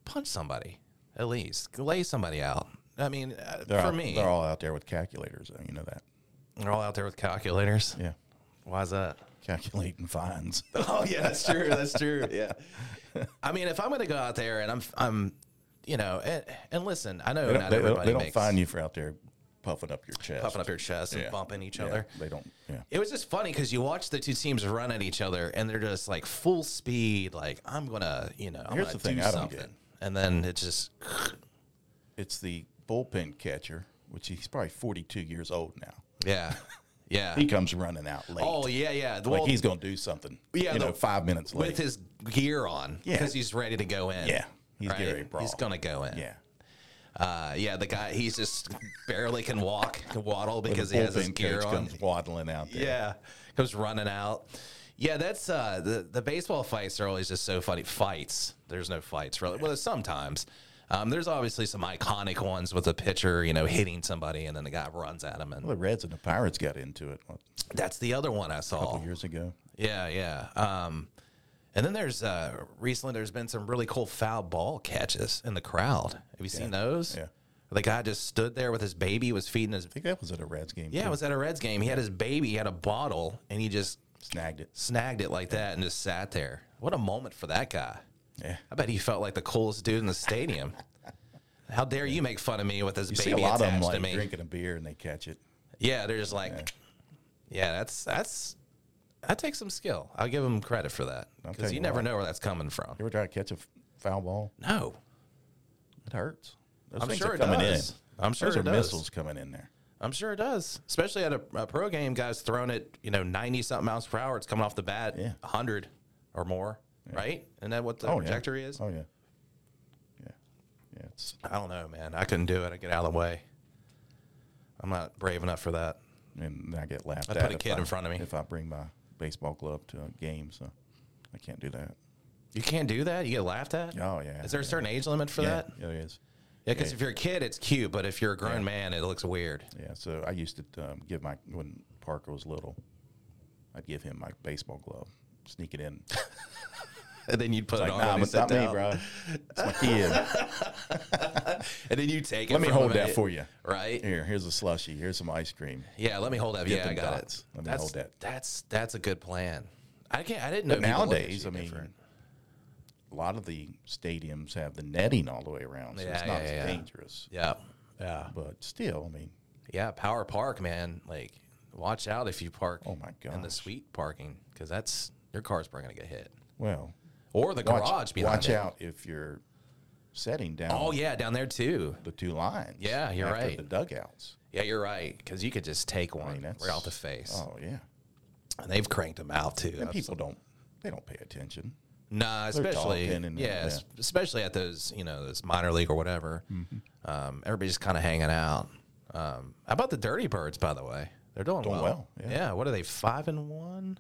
A: punch somebody at least lay somebody out i mean uh, for
B: They're all,
A: me
B: they're all out there with calculators. though, You know that.
A: out there with calculators
B: Yeah,
A: why's that
B: calculating fines.
A: oh yeah that's true that's true yeah i mean if i'm gonna go out there and i'm i'm you know and, and listen i know
B: They don't,
A: not
B: they don't-
A: everybody
B: they don't
A: makes
B: find you for out there puffing up your chest,
A: puffing up your chest and bumping each
B: Yeah,
A: other
B: They don't. Yeah.
A: It was just funny because you watch the two teams run at each other, and they're just like full speed, like I'm gonna, you know, I'm
B: Here's
A: gonna
B: the thing
A: do
B: I don't
A: something,
B: get.
A: and then it just
B: It's the bullpen catcher, which he's probably 42 years old now.
A: yeah, yeah.
B: He comes running out late.
A: oh yeah, yeah.
B: like
A: Well,
B: he's going to do something.
A: Yeah,
B: you
A: the-
B: know, five minutes late.
A: with his gear on
B: Yeah.
A: because he's ready to go in.
B: Yeah, he's getting ready to brawl.
A: He's gonna go in.
B: yeah,
A: uh, yeah. The guy, he's just barely can walk, can waddle because
B: because
A: he has his
B: bullpen
A: gear
B: coach
A: on.
B: comes waddling out there.
A: Yeah, comes running out. Yeah, that's uh, the the baseball fights are always just so funny. Fights, there's no fights really. Well, sometimes. Um, there's obviously some iconic ones with a pitcher, you know, hitting somebody and then the guy runs at him, and
B: Well, the Reds and the Pirates got into it what,
A: that's the other one I
B: a
A: saw.
B: couple years ago.
A: Yeah, yeah. Um, and then there's uh, recently there's been some really cool foul ball catches in the crowd. Have you seen those?
B: yeah.
A: The guy just stood there with his baby, was feeding his.
B: I think that was at a Reds game.
A: Yeah,
B: too.
A: it was at a Reds game. He had his baby, he had a bottle, and he just
B: snagged it.
A: snagged it like that and just sat there. What a moment for that guy.
B: Yeah.
A: I bet he felt like the coolest dude in the stadium. How dare you make fun of me with this
B: You
A: baby
B: see a lot of them
A: attached to
B: like
A: me?
B: drinking a beer and they catch it.
A: Yeah, they're just like, yeah. that's that's that takes some skill. I'll give him credit for that
B: I'll
A: because
B: tell
A: you,
B: you
A: never
B: what.
A: know where that's coming from.
B: You ever try to catch a f- foul ball?
A: No,
B: It hurts. Those
A: I'm
B: things
A: sure
B: are
A: it
B: coming
A: does.
B: in.
A: I'm sure
B: Those
A: it
B: are
A: does.
B: missiles coming in there.
A: I'm sure it does, especially at a, a pro game. Guys throwing it, you know, ninety something miles per hour. It's coming off the bat,
B: Yeah.
A: hundred or more, right? Isn't that what the
B: Oh,
A: trajectory
B: yeah.
A: is?
B: Oh yeah. Yeah. Yeah. It's
A: I don't know, man. I couldn't do it. I get out of the way. I'm not brave enough for that.
B: and I get laughed
A: I'd
B: at
A: put a
B: if
A: kid
B: I-
A: in front of me.
B: if I bring my baseball glove to a game. So I can't do that.
A: You can't do that. You get laughed at.
B: Oh, yeah.
A: Is there a
B: Yeah.
A: certain age limit for
B: yeah,
A: that?
B: yeah, it is.
A: Yeah, because if you're a kid, it's cute, but if you're a grown
B: Yeah.
A: man, it looks weird.
B: Yeah, so I used to um, give my when Parker was little, I'd give him my baseball glove, sneak it in. It's
A: And then you'd put
B: like,
A: it on.
B: nah,
A: when he
B: it's not
A: sat
B: me,
A: down.
B: bro. It's my kid.
A: And then you take it.
B: Let me
A: from
B: hold
A: him and
B: that
A: it-
B: for you.
A: Right?
B: Here, here's a slushy. Here's some ice cream.
A: Yeah, let me hold that.
B: Get
A: Yeah,
B: them
A: I got
B: dots.
A: it.
B: Let me
A: that's,
B: hold that.
A: That's that's a good plan. I can't. I didn't know.
B: But
A: people looked at
B: nowadays,
A: you
B: I mean,
A: different.
B: a lot of the stadiums have the netting all the way around, so
A: Yeah,
B: it's not
A: yeah,
B: as
A: yeah.
B: dangerous.
A: Yeah, yeah,
B: But still, I mean,
A: yeah. Power Park, man. Like, watch out if you park.
B: Oh, my
A: In the
B: gosh.
A: suite parking, because that's your car's probably gonna get hit.
B: well,
A: Or the
B: watch,
A: garage behind
B: watch
A: it.
B: out if you're setting down
A: Oh yeah, down there too.
B: the two lines.
A: Yeah, you're
B: after
A: right.
B: The dugouts.
A: Yeah, you're right. Because you could just take one
B: I mean, that's
A: right off the face.
B: Oh yeah,
A: And they've cranked them out too.
B: and
A: I've-
B: people don't they don't pay attention.
A: nah, especially
B: talking and-
A: yeah,
B: yeah.
A: es- especially at those you know those minor league or whatever.
B: Mm-hmm.
A: Um, everybody's kind of hanging out. Um, how about the Dirty Birds? By the way, they're doing,
B: Doing
A: well.
B: well, yeah.
A: What are they? Five and one.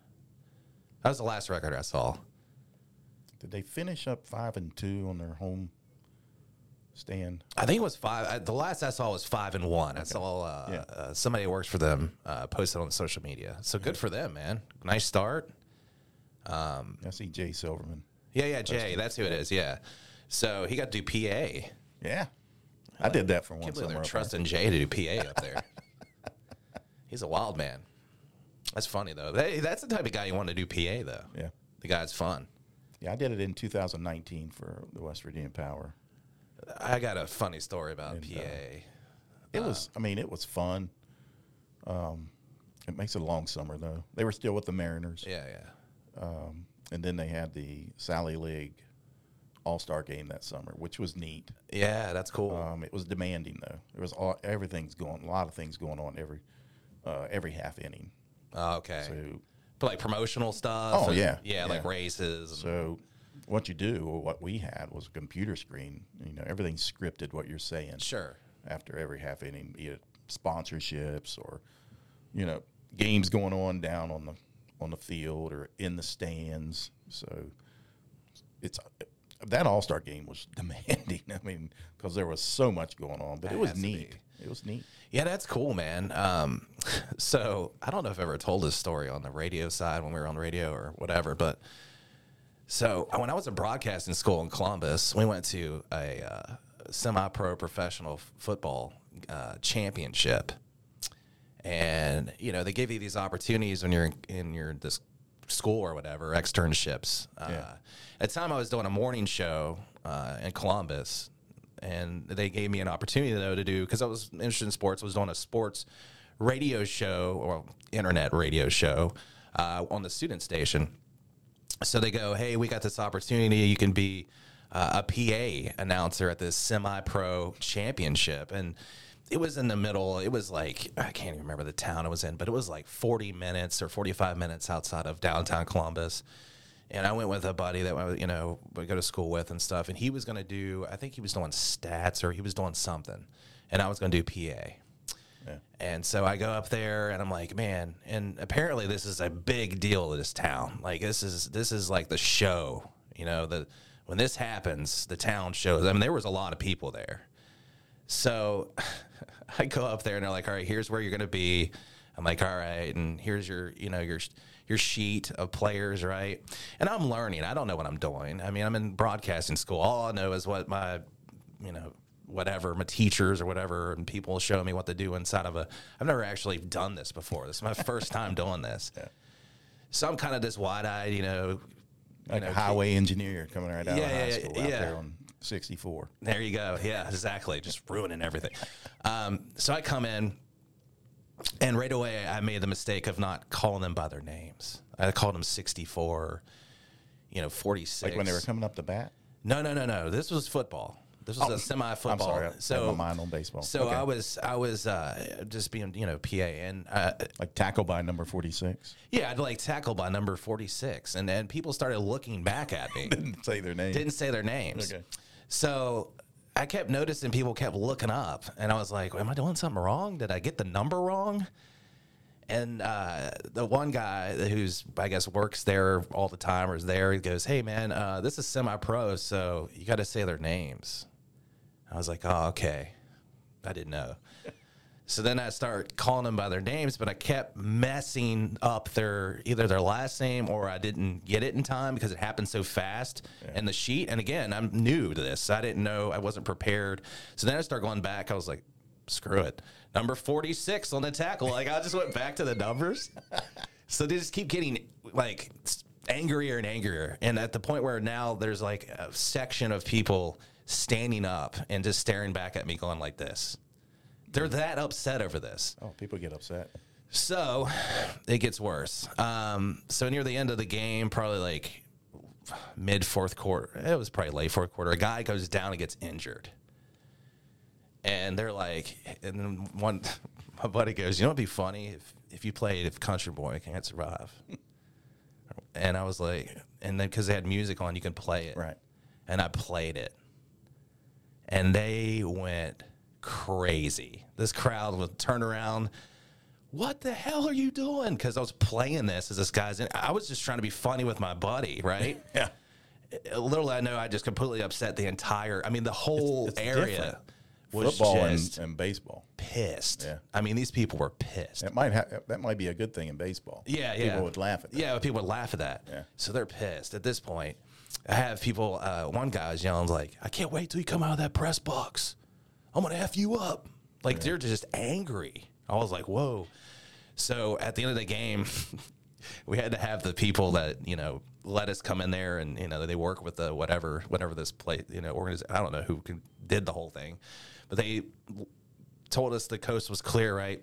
A: That was the last record I saw.
B: Did they finish up five and two on their home stand?
A: I think it was five. I, the last I saw was five and one. I saw uh,
B: Yeah.
A: uh, somebody that works for them uh, posted on social media. So good for them, man. Nice start.
B: I see Jay Silverman.
A: Yeah, yeah, Jay. That's who it is. Yeah. So he got to do PA.
B: Yeah, I did that for
A: Can't
B: one
A: believe
B: summer.
A: they're
B: up
A: trusting Jay to do PA up there. He's a wild man. That's funny though. That- that's the type of guy you want to do PA though.
B: there. Yeah,
A: The guy's fun.
B: yeah, I did it in 2019 for the West Virginia Power.
A: I got a funny story about PA.
B: uh, It was, I mean, it was fun. Um, it makes it a long summer though. They were still with the Mariners,
A: yeah, yeah.
B: and then they had the Sally League All Star game that summer, which was neat.
A: Yeah, that's cool.
B: Um, it was demanding though. There was all, everything's going, a lot of things going on every uh, every half inning.
A: Oh, okay.
B: So
A: but like promotional stuff.
B: Oh,
A: and-
B: yeah,
A: yeah, like
B: yeah.
A: races. and-
B: So what you do, or what we had, was a computer screen. You know, everything's scripted what you're saying
A: sure.
B: after every half inning, be it sponsorships or you know games going on down on the on the field or in the stands. So it's that All Star game was demanding. I mean, because there was so much going on, but
A: That
B: it was
A: has to
B: neat. It was neat.
A: Yeah, that's cool, man. Um, so I don't know if I've ever told this story on the radio side when we were on the radio or whatever, but so uh, when I was in broadcasting school in Columbus, we went to a uh, semi-pro professional f- football uh, championship, and you know they give you these opportunities when you're in, in your this school or whatever externships. Uh,
B: Yeah.
A: At the time, I was doing a morning show uh, in Columbus, and they gave me an opportunity though to do because I was interested in sports. I was doing a sports radio show or internet radio show uh, on the student station so they go, "Hey, we got this opportunity. You can be uh, a PA announcer at this semi-pro championship." And it was in the middle. It was like I can't even remember the town it was in, but it was like 40 minutes or 45 minutes outside of downtown Columbus. And I went with a buddy that I, you know would go to school with and stuff, and he was going to do. I think he was doing stats or he was doing something, and I was going to do PA.
B: Yeah.
A: And so I go up there and I'm like, man, and apparently this is a big deal to this town. Like this is this is like the show, you know, the when this happens, the town shows. I mean, there was a lot of people there. So I go up there and they're like, all right, here's where you're gonna be. I'm like, all right, and here's your, you know, your your sheet of players, right? And I'm learning. I don't know what I'm doing. I mean, I'm in broadcasting school. All I know is what my, you know, whatever my teachers or whatever, and people show me what to do inside of a. I've never actually done this before. This is my first time doing this. So I'm kind of this wide eyed, you know,
B: Like
A: know,
B: a highway engineer coming right out
A: Yeah,
B: of high
A: yeah,
B: school out
A: yeah.
B: there on 64.
A: There you go. Yeah, exactly. Just ruining everything. Um, so I come in, and right away I made the mistake of not calling them by their names. I called them 64, you know, 46.
B: Like when they were coming up the bat.
A: no, no, no, no. This was football. This was a semi
B: I'm
A: football.
B: sorry, I so,
A: so
B: my mind on baseball.
A: so
B: Okay.
A: I was I was uh, just being you know PA and uh,
B: like tackle by number 46.
A: yeah I'd like tackle by number 46, and then people started looking back at me.
B: Didn't say their name.
A: didn't say their names.
B: Okay.
A: So I kept noticing people kept looking up, and I was like, "Am I doing something wrong? Did I get the number wrong?" And uh, the one guy who's, I guess, works there all the time or is there, he goes, "Hey, man, uh, this is semi-pro, so you got to say their names." I was like, "Oh, okay." I didn't know. So then I start calling them by their names, but I kept messing up their either their last name or I didn't get it in time because it happened so fast. And the sheet, and again, I'm new to this. I didn't know. I wasn't prepared. So then I start going back. I was like, screw it. Number 46 on the tackle. Like I just went back to the numbers. So they just keep getting like s- angrier and angrier, and at the point where now there's like a section of people standing up and just staring back at me, going like this. They're that upset over this.
B: Oh, people get upset.
A: So it gets worse. Um, so near the end of the game, probably like mid fourth quarter, it was probably late fourth quarter, a guy goes down and gets injured. And they're like, and then one, my buddy goes, you know, it'd be funny if, if you played if Country Boy can't survive. and I was like, and then because they had music on, you can play it.
B: Right.
A: And I played it. And they went crazy. This crowd would turn around what the hell are you doing? Because I was playing this as this guy's in. I was just trying to be funny with my buddy, right?
B: Yeah.
A: Literally, I know I just completely upset the entire. I mean, the whole
B: It's- it's different.
A: area was
B: Football and,
A: just
B: and baseball.
A: pissed.
B: Yeah.
A: I mean, these people were pissed.
B: That might ha- that might be a good thing in baseball.
A: Yeah, yeah.
B: People would laugh at that.
A: Yeah, people would laugh at that.
B: Yeah.
A: So they're pissed at this point. I have people. Uh, one guy was yelling like, "I can't wait till you come out of that press box. I'm gonna f you up." Like they're just angry. I was like, "Whoa." So at the end of the game, we had to have the people that you know let us come in there, and you know they work with the whatever, whatever this play, you know, organiz- I don't know who can, did the whole thing, but they told us the coast was clear, right?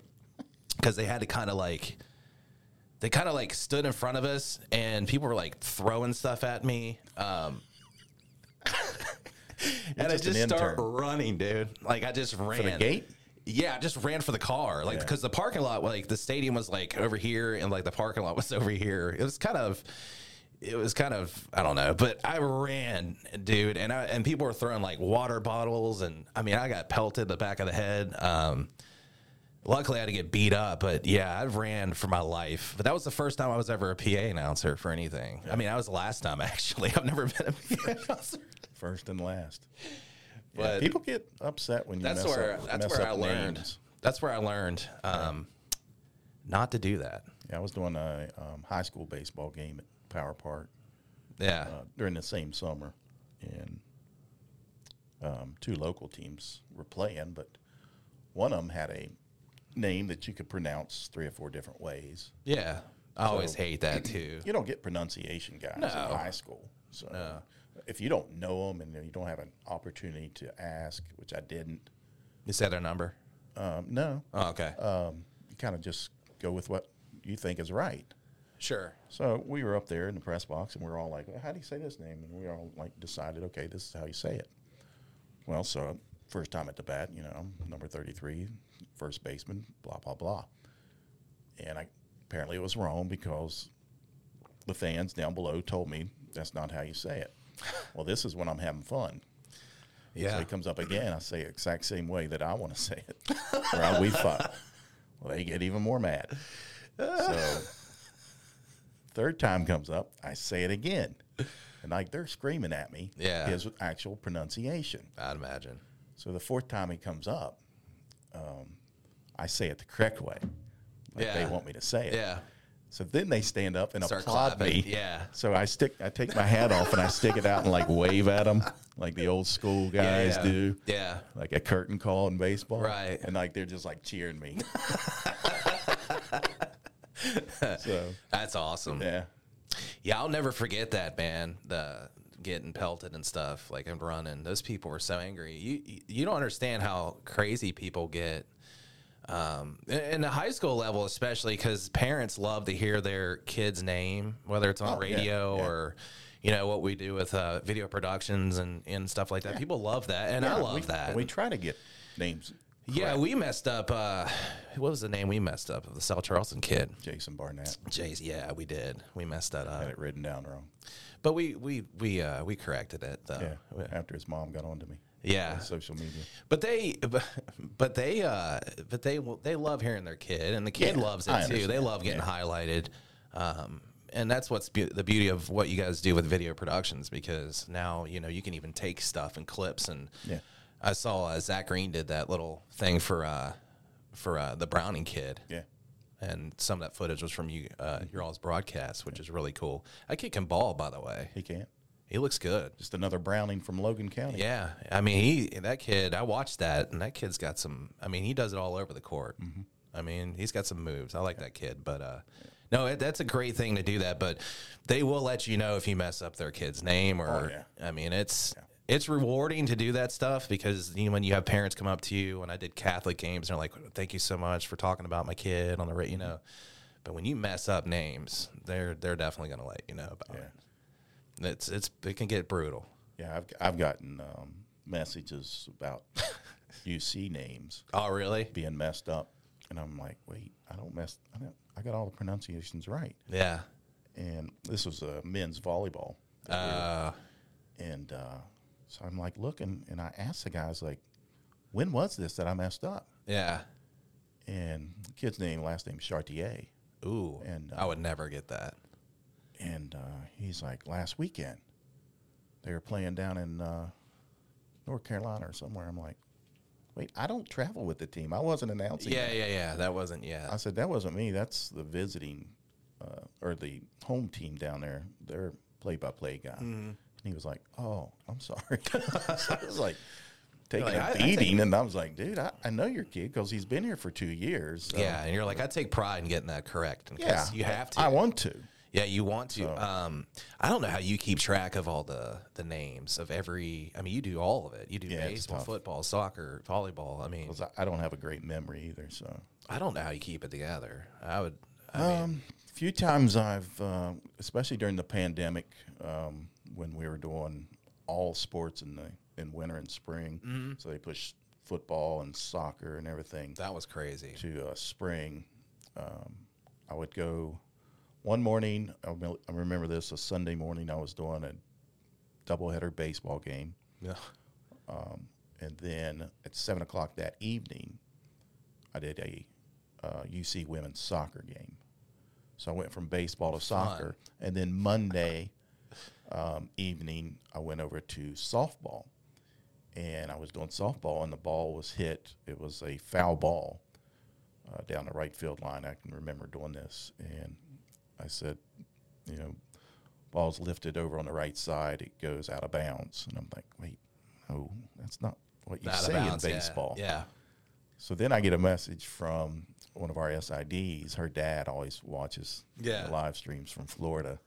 A: Because they had to kind of like they kind of like stood in front of us and people were like throwing stuff at me. Um, and I
B: just an
A: just start
B: intern.
A: running, dude. Like I just ran
B: gate?
A: Yeah, I just ran for the car, like
B: Yeah.
A: because the parking lot, like the stadium was like over here, and like the parking lot was over here. It was kind of, it was kind of, I don't know, but I ran, dude, and I and people were throwing like water bottles, and I mean, I got pelted in the back of the head. Um, luckily, I had to get beat up, but yeah, I ran for my life. But that was the first time I was ever a PA announcer for anything. I mean, that was the last time actually. I've never been a PA announcer.
B: First and last. Yeah,
A: But-
B: people get upset when you
A: that's
B: mess
A: where
B: up,
A: that's
B: mess
A: where
B: up
A: I learned.
B: names.
A: That's where I learned um, not to do that.
B: Yeah, I was doing a um, high school baseball game at Power Park
A: Yeah,
B: uh, during the same summer, and um, two local teams were playing, but one of them had a name that you could pronounce three or four different ways.
A: yeah. I always hate that too.
B: You don't get pronunciation guys in high school, so if you don't know them and you don't have an opportunity to ask, which I didn't,
A: You said a number.
B: um, no,
A: Oh, okay,
B: um, you kind of just go with what you think is right.
A: sure.
B: So we were up there in the press box, and we were all like, "How do you say this name?" And we all like decided, "Okay, this is how you say it." Well, so first time at the bat, you know, number thirty-three, first baseman, blah blah blah, and I apparently it was wrong because the fans down below told me that's not how you say it. Well, this is when I'm having fun. So
A: Yeah,
B: he comes up again. I say it exact same way that I want to say it. or I, we fight. Well, they get even more mad. So third time comes up, I say it again. And like they're screaming at me
A: Yeah.
B: his actual pronunciation.
A: I'd imagine.
B: So the fourth time he comes up, um, I say it the correct way. Like they
A: Yeah.
B: want me to say it.
A: Yeah,
B: So then they stand up and
A: start
B: applaud
A: clapping.
B: me.
A: Yeah,
B: So I stick, I take my hat off and I stick it out and like wave at them, like the old school guys
A: yeah.
B: do
A: Yeah,
B: like a curtain call in baseball.
A: Right.
B: And like they're just like cheering me. so
A: that's awesome.
B: yeah.
A: Yeah, I'll never forget that, man. The getting pelted and stuff, like and running. Those people were so angry. You you don't understand how crazy people get. Um, in- in the high school level, especially because parents love to hear their kid's name, whether it's on
B: Oh, yeah,
A: radio
B: yeah.
A: or, you know, what we do with uh, video productions and, and stuff like that. People love that, and I love
B: we,
A: that.
B: We try to get names
A: yeah, we messed up. Uh, what was the name we messed up of the South Charleston kid?
B: Jason Barnett.
A: Jace. Yeah, we did. We messed that up.
B: Had it written down wrong.
A: But we we we uh, we corrected it
B: Yeah.
A: though. Yeah.
B: After his mom got onto me. On social media.
A: But they but, but they uh but they will- they love hearing their kid and the kid
B: Yeah,
A: loves it
B: I
A: too. They
B: understand.
A: love getting highlighted. Um and that's what's be- the beauty of what you guys do with video productions because now you know you can even take stuff and clips and
B: Yeah.
A: I saw uh, Zach Green did that little thing for uh for uh, the Browning kid
B: Yeah. Mm-hmm.
A: and some of that footage was from you uh, your all's broadcast which is really cool. That kid can ball by the way.
B: He can't.
A: He looks good.
B: Just another Browning from Logan County.
A: Yeah, I mean, he that kid. I watched that, and that kid's got some. I mean, he does it all over the court. I mean, he's got some moves. I like that kid, but uh, no, it, that's a great thing to do that. But they will let you know if you mess up their kid's name, or
B: Oh,
A: I mean, it's it's rewarding to do that stuff because you know, when you have parents come up to you, and I did Catholic games, and they're like, "Thank you so much for talking about my kid on the radio," you know. But when you mess up names, they're they're definitely going to let you know about it. It's it's it can get brutal.
B: Yeah, I've I've gotten um, messages about UC names
A: Oh, really?
B: being messed up. And I'm like, wait, I don't mess I don't I got all the pronunciations right.
A: Yeah.
B: and this was a men's volleyball.
A: Uh,
B: And uh, so I'm like looking, and I asked the guys like, "When was this that I messed up?"
A: yeah.
B: And the kid's name, last name Chartier,
A: Ooh.
B: And, uh,
A: I would never get that.
B: and uh, he's like, "Last weekend, they were playing down in uh, North Carolina or somewhere." I'm like, "Wait, I don't travel with the team. I wasn't announcing."
A: Yeah,
B: that."
A: yeah, yeah. That wasn't yeah.
B: I said that wasn't me. That's the visiting uh, or the home team down there. Their play-by-play
A: Mm-hmm.
B: guy. And he was like, "Oh, I'm sorry." so I was like taking
A: You're like, "I- I
B: a
A: take-
B: beating, and I was like, "Dude, I, I know your kid because he's been here for two years." so-
A: yeah, and you're like, I take pride in getting that correct. And 'cause
B: yeah,
A: you have to.
B: I want to.
A: yeah, you want to. Um, I don't know how you keep track of all the the names of every. I mean, you do all of it. You do
B: Yeah, it's
A: baseball,
B: tough.
A: football, soccer, volleyball. I mean,
B: 'Cause I- I don't have a great memory either. So,
A: I don't know how you keep it together. I would. I mean,
B: um, a few times I've, uh, especially during the pandemic, um, when we were doing all sports in the in winter and spring.
A: Mm-hmm.
B: So they pushed football and soccer and everything
A: That was crazy.
B: to uh, spring, um, I would go one morning. I remem- I remember this a Sunday morning. I was doing a doubleheader baseball game, Um,
A: Yeah.
B: and then at seven o'clock that evening, I did a uh, UC women's soccer game. So I went from baseball to soccer, and then Monday um, evening I went over to softball, and I was doing softball, and the ball was hit. It was a foul ball uh, down the right field line. I can remember doing this, and I said, you know, ball's lifted over on the right side, it goes out of bounds, and I'm like, wait, no, that's not what you
A: Out of
B: say
A: bounds,
B: in
A: yeah.
B: baseball.
A: Yeah.
B: So then I get a message from one of our SIDs. Her dad always watches
A: Yeah.
B: the live streams from Florida.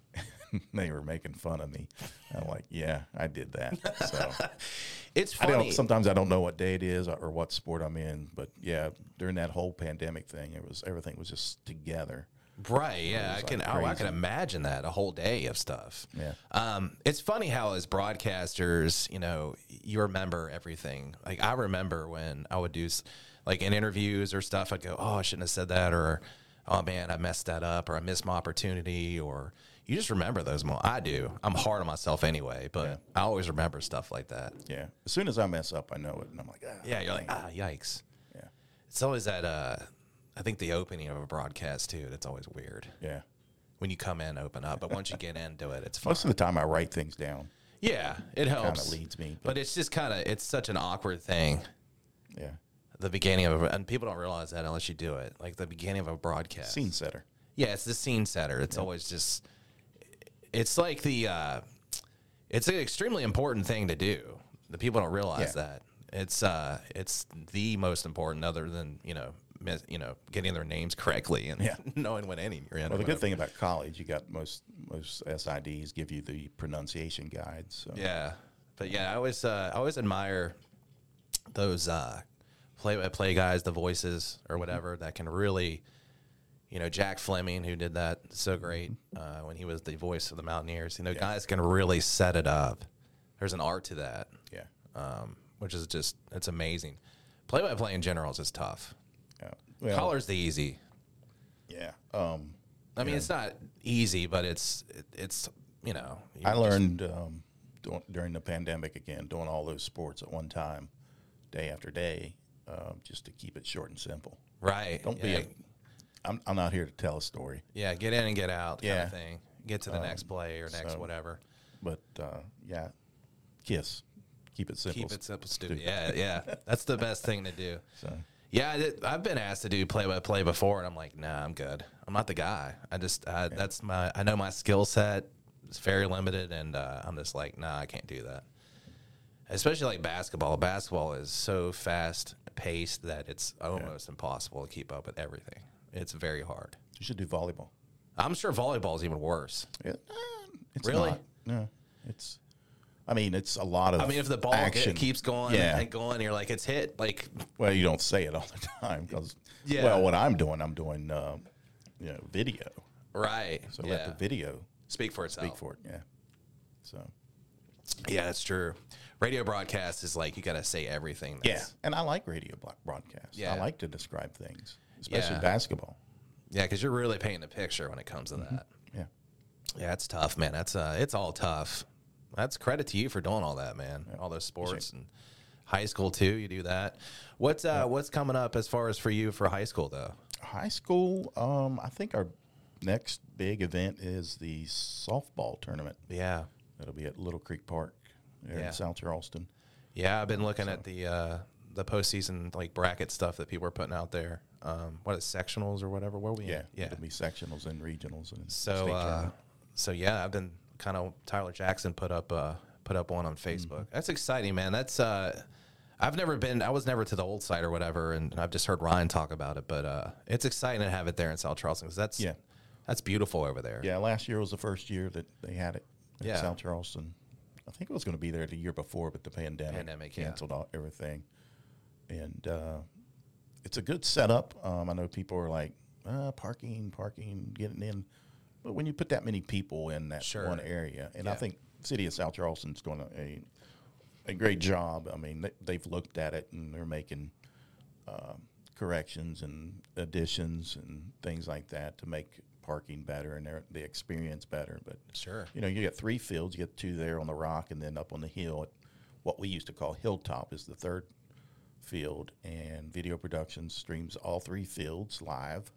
B: they were making fun of me. I'm like, yeah, I did that. So
A: It's
B: I
A: funny.
B: don't. Sometimes I don't know what day it is or what sport I'm in. But yeah, during that whole pandemic thing, it was everything was just together.
A: Right. Yeah. I
B: like
A: can. oh, I
B: crazy.
A: can imagine that a whole day of stuff.
B: Yeah.
A: Um, it's funny how as broadcasters, you know, you remember everything. Like I remember when I would do, s- like in interviews or stuff, I'd go, "Oh, I shouldn't have said that," or "Oh man, I messed that up," or "I missed my opportunity," or you just remember those. Mo- I do. I'm hard on myself anyway, but I always remember stuff like that.
B: Yeah. As soon as I mess up, I know it, and I'm like, ah,
A: Yeah. You're like, ah, yikes.
B: yeah,
A: It's always that. Uh, I think the opening of a broadcast too. That's always weird
B: yeah.
A: when you come in, open up. But once you get into it, it's fine.
B: Most of the time, I write things down.
A: Yeah, it
B: Kind
A: helps.
B: of leads me,
A: but,
B: but
A: it's just kind of it's such an awkward thing.
B: yeah,
A: The beginning of a, and people don't realize that unless you do it. Like the beginning of a broadcast.
B: scene setter.
A: Yeah, it's the scene setter. It's always just. It's like the. Uh, it's an extremely important thing to do. The people don't realize
B: Yeah.
A: that it's uh it's the most important other than you know mis- you know getting their names correctly and
B: Yeah.
A: knowing what inning you're in.
B: Well,
A: or
B: the good
A: whatever.
B: thing about college, you got most most SIDs give you the pronunciation guide. So
A: Yeah, but yeah, I always uh, I always admire those uh, play-by-play guys, the voices or whatever that can really, you know, Jack Fleming who did that so great uh, when he was the voice of the Mountaineers. You know, guys can really set it up. There's an art to that,
B: yeah,
A: um, which is just it's amazing. Play-by-play in general is just tough.
B: yeah. Well,
A: Color's the easy.
B: yeah. Um,
A: I mean, it's not easy, but it's it, it's you know. you
B: I
A: just-
B: learned um, doing, during the pandemic again, doing all those sports at one time, day after day, um, just to keep it short and simple.
A: right.
B: Don't be.
A: yeah,
B: A, I'm I'm not here to tell a story,
A: Yeah, get in and get out kind
B: Yeah. Um,
A: of thing. Get to the next play or next
B: so
A: whatever.
B: but uh, yeah, kiss, keep it simple.
A: Keep it simple, stupid. Yeah, yeah. That's the best thing to do.
B: So,
A: Yeah, I did- I've been asked to do play by play before, and I'm like, nah, I'm good. I'm not the guy. I just, I, that's my, I know my skill set is very limited, and uh, I'm just like, nah, I can't do that. Especially like basketball. Basketball is so fast paced that it's almost impossible to keep up with everything. It's very hard.
B: you should do volleyball.
A: I'm sure volleyball is even worse.
B: It, it's
A: Really?
B: Not, no, it's. I mean, it's a lot of.
A: I mean, if the ball ge-
B: action.
A: keeps going
B: Yeah.
A: and going, you're like, it's hit. Like,
B: Well, you don't say it all the time because,
A: Yeah.
B: well, what I'm doing, I'm doing, um, you know, video.
A: right.
B: So
A: yeah. Oh.
B: let the video
A: Speak for itself.
B: speak for it. Yeah. So
A: Yeah, that's true. Radio broadcast is like you got to say everything.
B: yeah,
A: That's,
B: and I like radio bro- broadcasts.
A: Yeah.
B: I like to describe things, especially
A: Yeah.
B: basketball.
A: yeah, because you're really painting a picture when it comes
B: Mm-hmm.
A: to that.
B: Yeah.
A: Yeah, it's tough, man. That's uh, it's all tough. That's credit to you for doing all that, man. All those sports and high school too. You do that. What's uh, what's coming up as far as for you for high school though?
B: High school. Um, I think our next big event is the softball tournament.
A: Yeah,
B: That'll be at Little Creek Park there
A: Yeah.
B: in South Charleston.
A: yeah. I've been looking at the uh, the postseason like bracket stuff that people are putting out there. Um, what is sectionals or whatever? Where are we?
B: Yeah.
A: at? yeah.
B: It'll be sectionals and regionals and
A: So,
B: state
A: uh,
B: tournament.
A: so yeah, I've been kind of Tyler Jackson put up uh, put up one on
B: Mm-hmm.
A: Facebook. That's exciting, man. That's uh, I've never been. I was never to the old site or whatever, and I've just heard Ryan talk about it. But uh, it's exciting to have it there in South Charleston 'cause that's
B: Yeah.
A: that's beautiful over there.
B: Yeah, last year was the first year that they had it in
A: Yeah.
B: South Charleston. I think it was going to be there the year before, but the pandemic,
A: Pandemic, yeah.
B: canceled all, everything. And uh, it's a good setup. Um, I know people are like, uh, parking, parking, getting in. But when you put that many people in that
A: Sure.
B: one area, and I
A: Yeah.
B: think city of South Charleston's going to a great job. I mean, they, they've looked at it and they're making um corrections and additions and things like that to make parking better and their, the experience better. But
A: Sure.
B: you know, you got three fields. You got two there on the rock, and then up on the hill. At what we used to call Hilltop is the third field, and Video Productions streams all three fields live.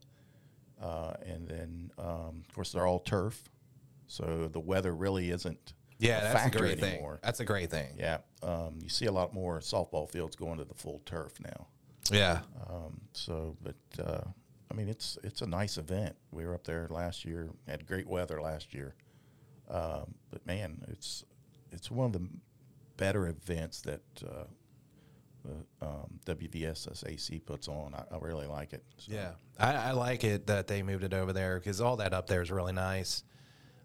B: Uh, and then, um, of course, they're all turf, so the weather really isn't
A: Yeah,
B: a
A: that's a
B: factor
A: great
B: anymore.
A: thing. That's a great thing.
B: Yeah, um, you see a lot more softball fields going to the full turf now.
A: Yeah.
B: Um, so, but uh, I mean, it's it's a nice event. We were up there last year, had great weather last year. Um, but man, it's it's one of the better events that uh, the um, WVSSAC puts on. I, I really like it. So,
A: Yeah, I, I like it that they moved it over there because all that up there is really nice.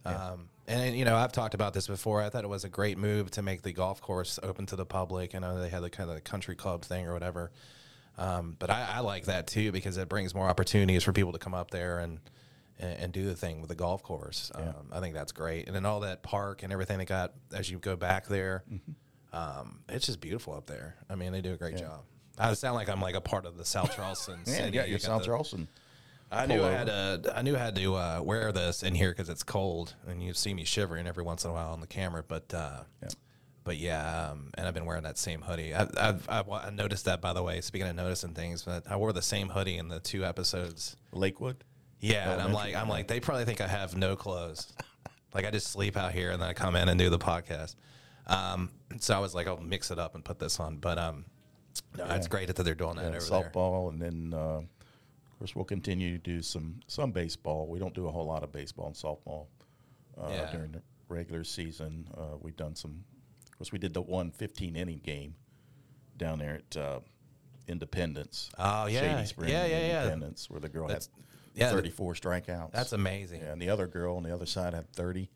A: Um, and you know, I've talked about this before. I thought it was a great move to make the golf course open to the public. I know they had the kind of the country club thing or whatever, um, but I, I like that too because it brings more opportunities for people to come up there and and, and do the thing with the golf course. Um, I think that's great. And then all that park and everything they got as you go back there,
B: Mm-hmm.
A: um, it's just beautiful up there. I mean, they do a great job. I sound like I'm like a part of the South Charleston.
B: yeah, you
A: city.
B: got
A: You
B: your South
A: the-
B: Charleston.
A: I knew I had to. I knew I had to uh, wear this in here because it's cold, and you see me shivering every once in a while on the camera. But uh, but yeah, um, and I've been wearing that same hoodie. I, I've, I, wa- I noticed that by the way. Speaking of noticing things, but I wore the same hoodie in the two episodes.
B: Lakewood.
A: Yeah, and I'm like, I'm like, they probably think I have no clothes. like I just sleep out here, and then I come in and do the podcast. Um, so I was like, I'll mix it up and put this on. But um, no, it's great that they're doing that
B: and
A: over there.
B: softball, and then uh, of course we'll continue to do some some baseball. We don't do a whole lot of baseball and softball uh,
A: Yeah.
B: during the regular season. Uh, we've done some. Of course, we did the one 15 inning game down there at uh, Independence.
A: Oh, yeah.
B: Shady Spring
A: Yeah, yeah, yeah.
B: Independence, where the girl
A: That's-
B: had
A: yeah,
B: 34 strikeouts.
A: That's amazing.
B: yeah, and the other girl on the other side had 30.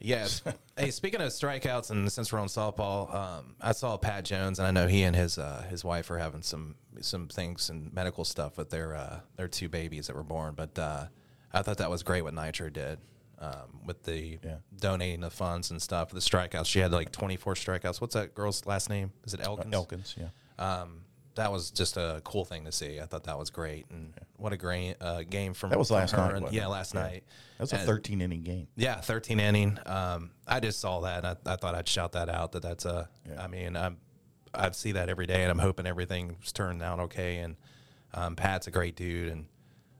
A: Yes. hey, speaking of strikeouts, and since we're on softball, um, I saw Pat Jones, and I know he and his uh, his wife are having some some things and medical stuff with their uh, their two babies that were born. But uh, I thought that was great what Nitro did um, with the
B: Yeah.
A: donating the funds and stuff. The strikeouts, she had like twenty four strikeouts. What's that girl's last name? Is it Elkins?
B: Elkins, yeah.
A: Um, that was just a cool thing to see. I thought that was great, and what a great uh, game from
B: That was
A: from
B: last
A: her
B: night,
A: and-
B: wasn't
A: yeah,
B: it?
A: last
B: Yeah.
A: night.
B: That was a
A: And-
B: 13 inning game.
A: yeah, 13 inning. Um, I just saw that. And I, I thought I'd shout that out. That that's a. I
B: Yeah.
A: mean, I'm. I see that every day, and I'm hoping everything's turned out okay. And um, Pat's a great dude, and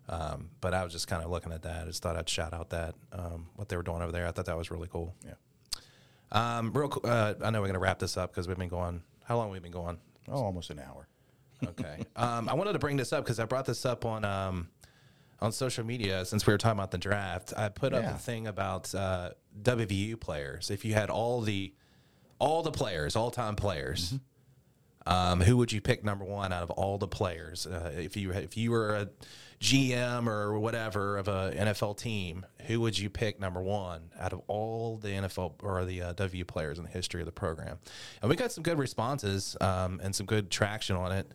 A: um, but I was just kind of looking at that. I just thought I'd shout out that um, what they were doing over there. I thought that was really cool.
B: Yeah.
A: Um, real. qu- Uh, I know we're gonna wrap this up because we've been going. How long we've been going?
B: Oh, almost an hour.
A: Okay. Um, I wanted to bring this up because I brought this up on um, on social media since we were talking about the draft. I put up
B: Yeah.
A: a thing about uh, WVU players. If you had all the all the players, all time players, um, who would you pick number one out of all the players? Uh, if you if you were a GM or whatever of a NFL team, who would you pick number one out of all the NFL or the uh, W players in the history of the program? And we got some good responses um, and some good traction on it.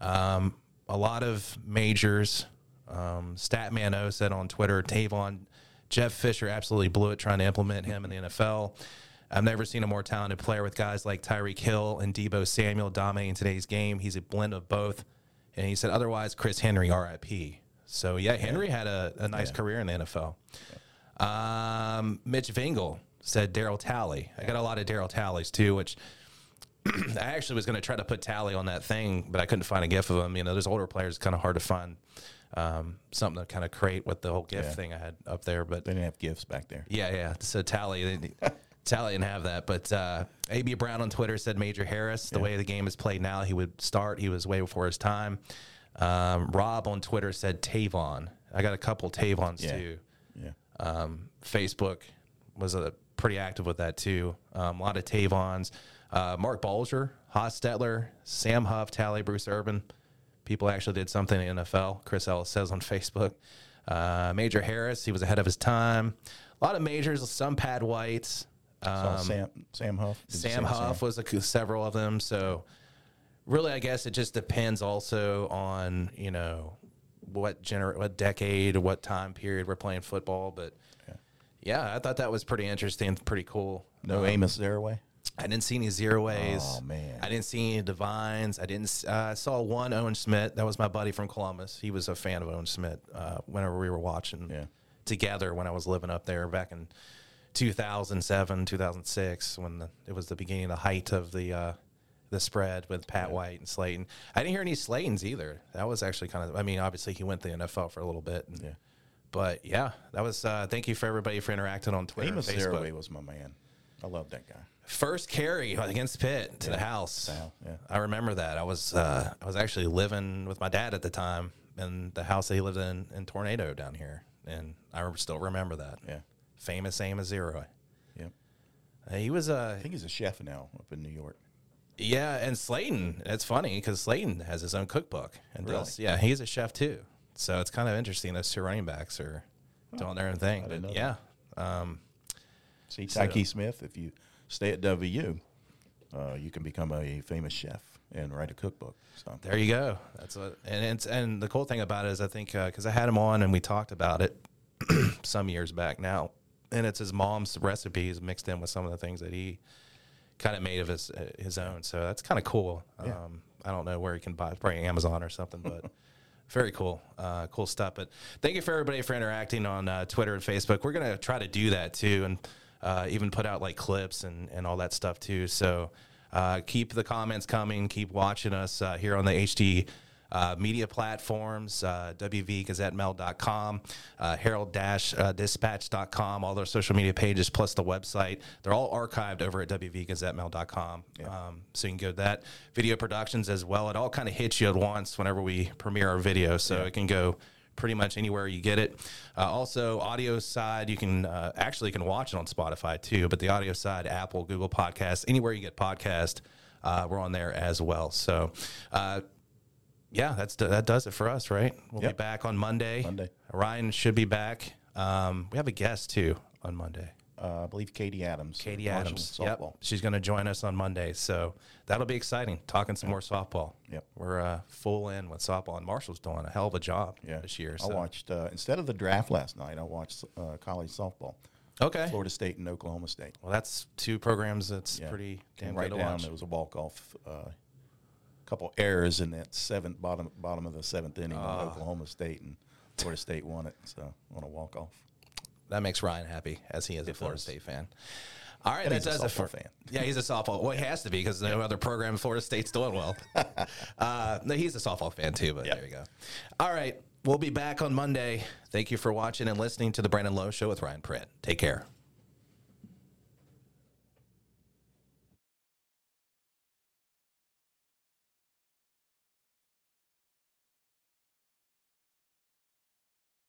A: Um, a lot of majors. Um, Statman O said on Twitter, Tavon Jeff Fisher absolutely blew it trying to implement him in the NFL. I've never seen a more talented player with guys like Tyreek Hill and Debo Samuel dominating today's game. He's a blend of both. And he said, otherwise, Chris Henry, RIP. So, yeah, Henry had a, a nice career in the NFL. Um, Mitch Vingle said Daryl Talley. I got a lot of Daryl Tallies too, which I actually was going to try to put Tally on that thing, but I couldn't find a GIF of him. You know, those older players kind of hard to find um, something to kind of create with the whole GIF thing I had up there. But
B: They didn't have gifts back there.
A: yeah, yeah. So Tally, they didn't- Tally didn't have that. But uh, AB Brown on Twitter said Major Harris, the way the game is played now, he would start. He was way before his time. Um, Rob on Twitter said Tavon. I got a couple Tavons
B: Yeah.
A: too.
B: Yeah.
A: Um, Facebook was uh, pretty active with that too. Um, a lot of Tavons, uh, Mark Bolger, Haas Stetler, Sam Huff, Tally, Bruce Urban. People actually did something in the NFL. Chris Ellis says on Facebook. Uh, Major Harris, he was ahead of his time. A lot of majors, some Pad Whites.
B: So Sam Sam Huff. Did you
A: Um, Sam
B: say
A: Huff was a, several of them. So really, I guess it just depends also on you know what gener- what decade, what time period we're playing football. But yeah, I thought that was pretty interesting, pretty cool.
B: No Amos Amos Zaraway.
A: I didn't see any zero ways.
B: Oh, man.
A: I didn't see any divines. I didn't. s- Uh, I saw one Owen Smith. That was my buddy from Columbus. He was a fan of Owen Smith. Uh, whenever we were watching
B: Yeah.
A: together when I was living up there back in 2007, 2006, when the, it was the beginning, of the height of the uh, the spread with Pat White and Slayton. I didn't hear any Slaytons either. That was actually kind of. I mean, obviously he went to the NFL for a little bit. And,
B: Yeah.
A: But yeah, that was. Uh, thank you for everybody for interacting on Twitter,
B: Amos
A: and Facebook.
B: Zaraway was my man. I love that guy.
A: First carry against Pitt to the house.
B: house, yeah.
A: I remember that. I was uh, I was actually living with my dad at the time in the house that he lived in in tornado down here, and I re- still remember that.
B: Yeah.
A: Famous Amos Zero.
B: Yeah.
A: Uh, he was uh,
B: I think he's a chef now up in New York.
A: yeah, and Slayton. It's funny because Slayton has his own cookbook and does. Yeah, he's a chef too. So it's kind of interesting. Those two running backs are doing their own thing.
B: didn't
A: But
B: know
A: yeah,
B: See, Tyke Smith, if you stay at WU, uh, you can become a famous chef and write a cookbook. So,
A: There you go. That's what, and it's, and the cool thing about it is, I think because I had him on and we talked about it some years back now, and it's his mom's recipes mixed in with some of the things that he kind of made of his uh, his own. So that's kind of cool. Um, I don't know where you can buy it, probably Amazon or something, but very cool, uh, cool stuff. But thank you for everybody for interacting on uh, Twitter and Facebook. We're gonna try to do that too, and uh, even put out like clips and and all that stuff too. So uh, keep the comments coming. Keep watching us uh, here on the HD. Uh, media platforms, uh, wvgazettemail.com, uh, herald-dispatch.com, all their social media pages, plus the website. They're all archived over at wvgazettemail.com. Um, so you can go to that. Video productions as well. It all kind of hits you at once whenever we premiere our video. So it can go pretty much anywhere you get it. Uh, also, audio side, you can uh, actually you can watch it on Spotify too, but the audio side, Apple, Google Podcasts, anywhere you get podcast, uh, we're on there as well. So, uh, yeah, that's that does it for us, right? We'll be
B: Yep.
A: back on Monday.
B: Monday.
A: Ryan should be back. Um, we have a guest too on Monday.
B: uh, I believe Katie Adams.
A: Katie
B: Marshall
A: Adams. Yep.
B: Softball.
A: She's going to join us on Monday. So that'll be exciting. Talking some more softball.
B: Yep.
A: We're uh, full in with softball, and Marshall's doing a hell of a job
B: Yeah.
A: this year.
B: I
A: So.
B: watched, uh, instead of the draft last night, I watched uh, college softball,
A: Okay.
B: Florida State and Oklahoma State.
A: Well, that's two programs that's
B: Yeah.
A: pretty
B: Came
A: damn
B: right
A: good to
B: down.
A: watch.
B: There was a walk off, a uh, couple errors in that seventh bottom bottom of the seventh inning
A: Ah.
B: of Oklahoma State, and Florida State won it. So on a walk off.
A: That makes Ryan happy, as he is a Florida
B: does.
A: State fan. All right, that
B: he's a
A: does it for
B: softball fan.
A: Yeah, he's a softball. Well, he has to be because no other program in Florida State's doing well. uh, no, he's a softball fan too. But there you go. All right, we'll be back on Monday. Thank you for watching and listening to the Brandon Lowe Show with Ryan Pratt. Take care.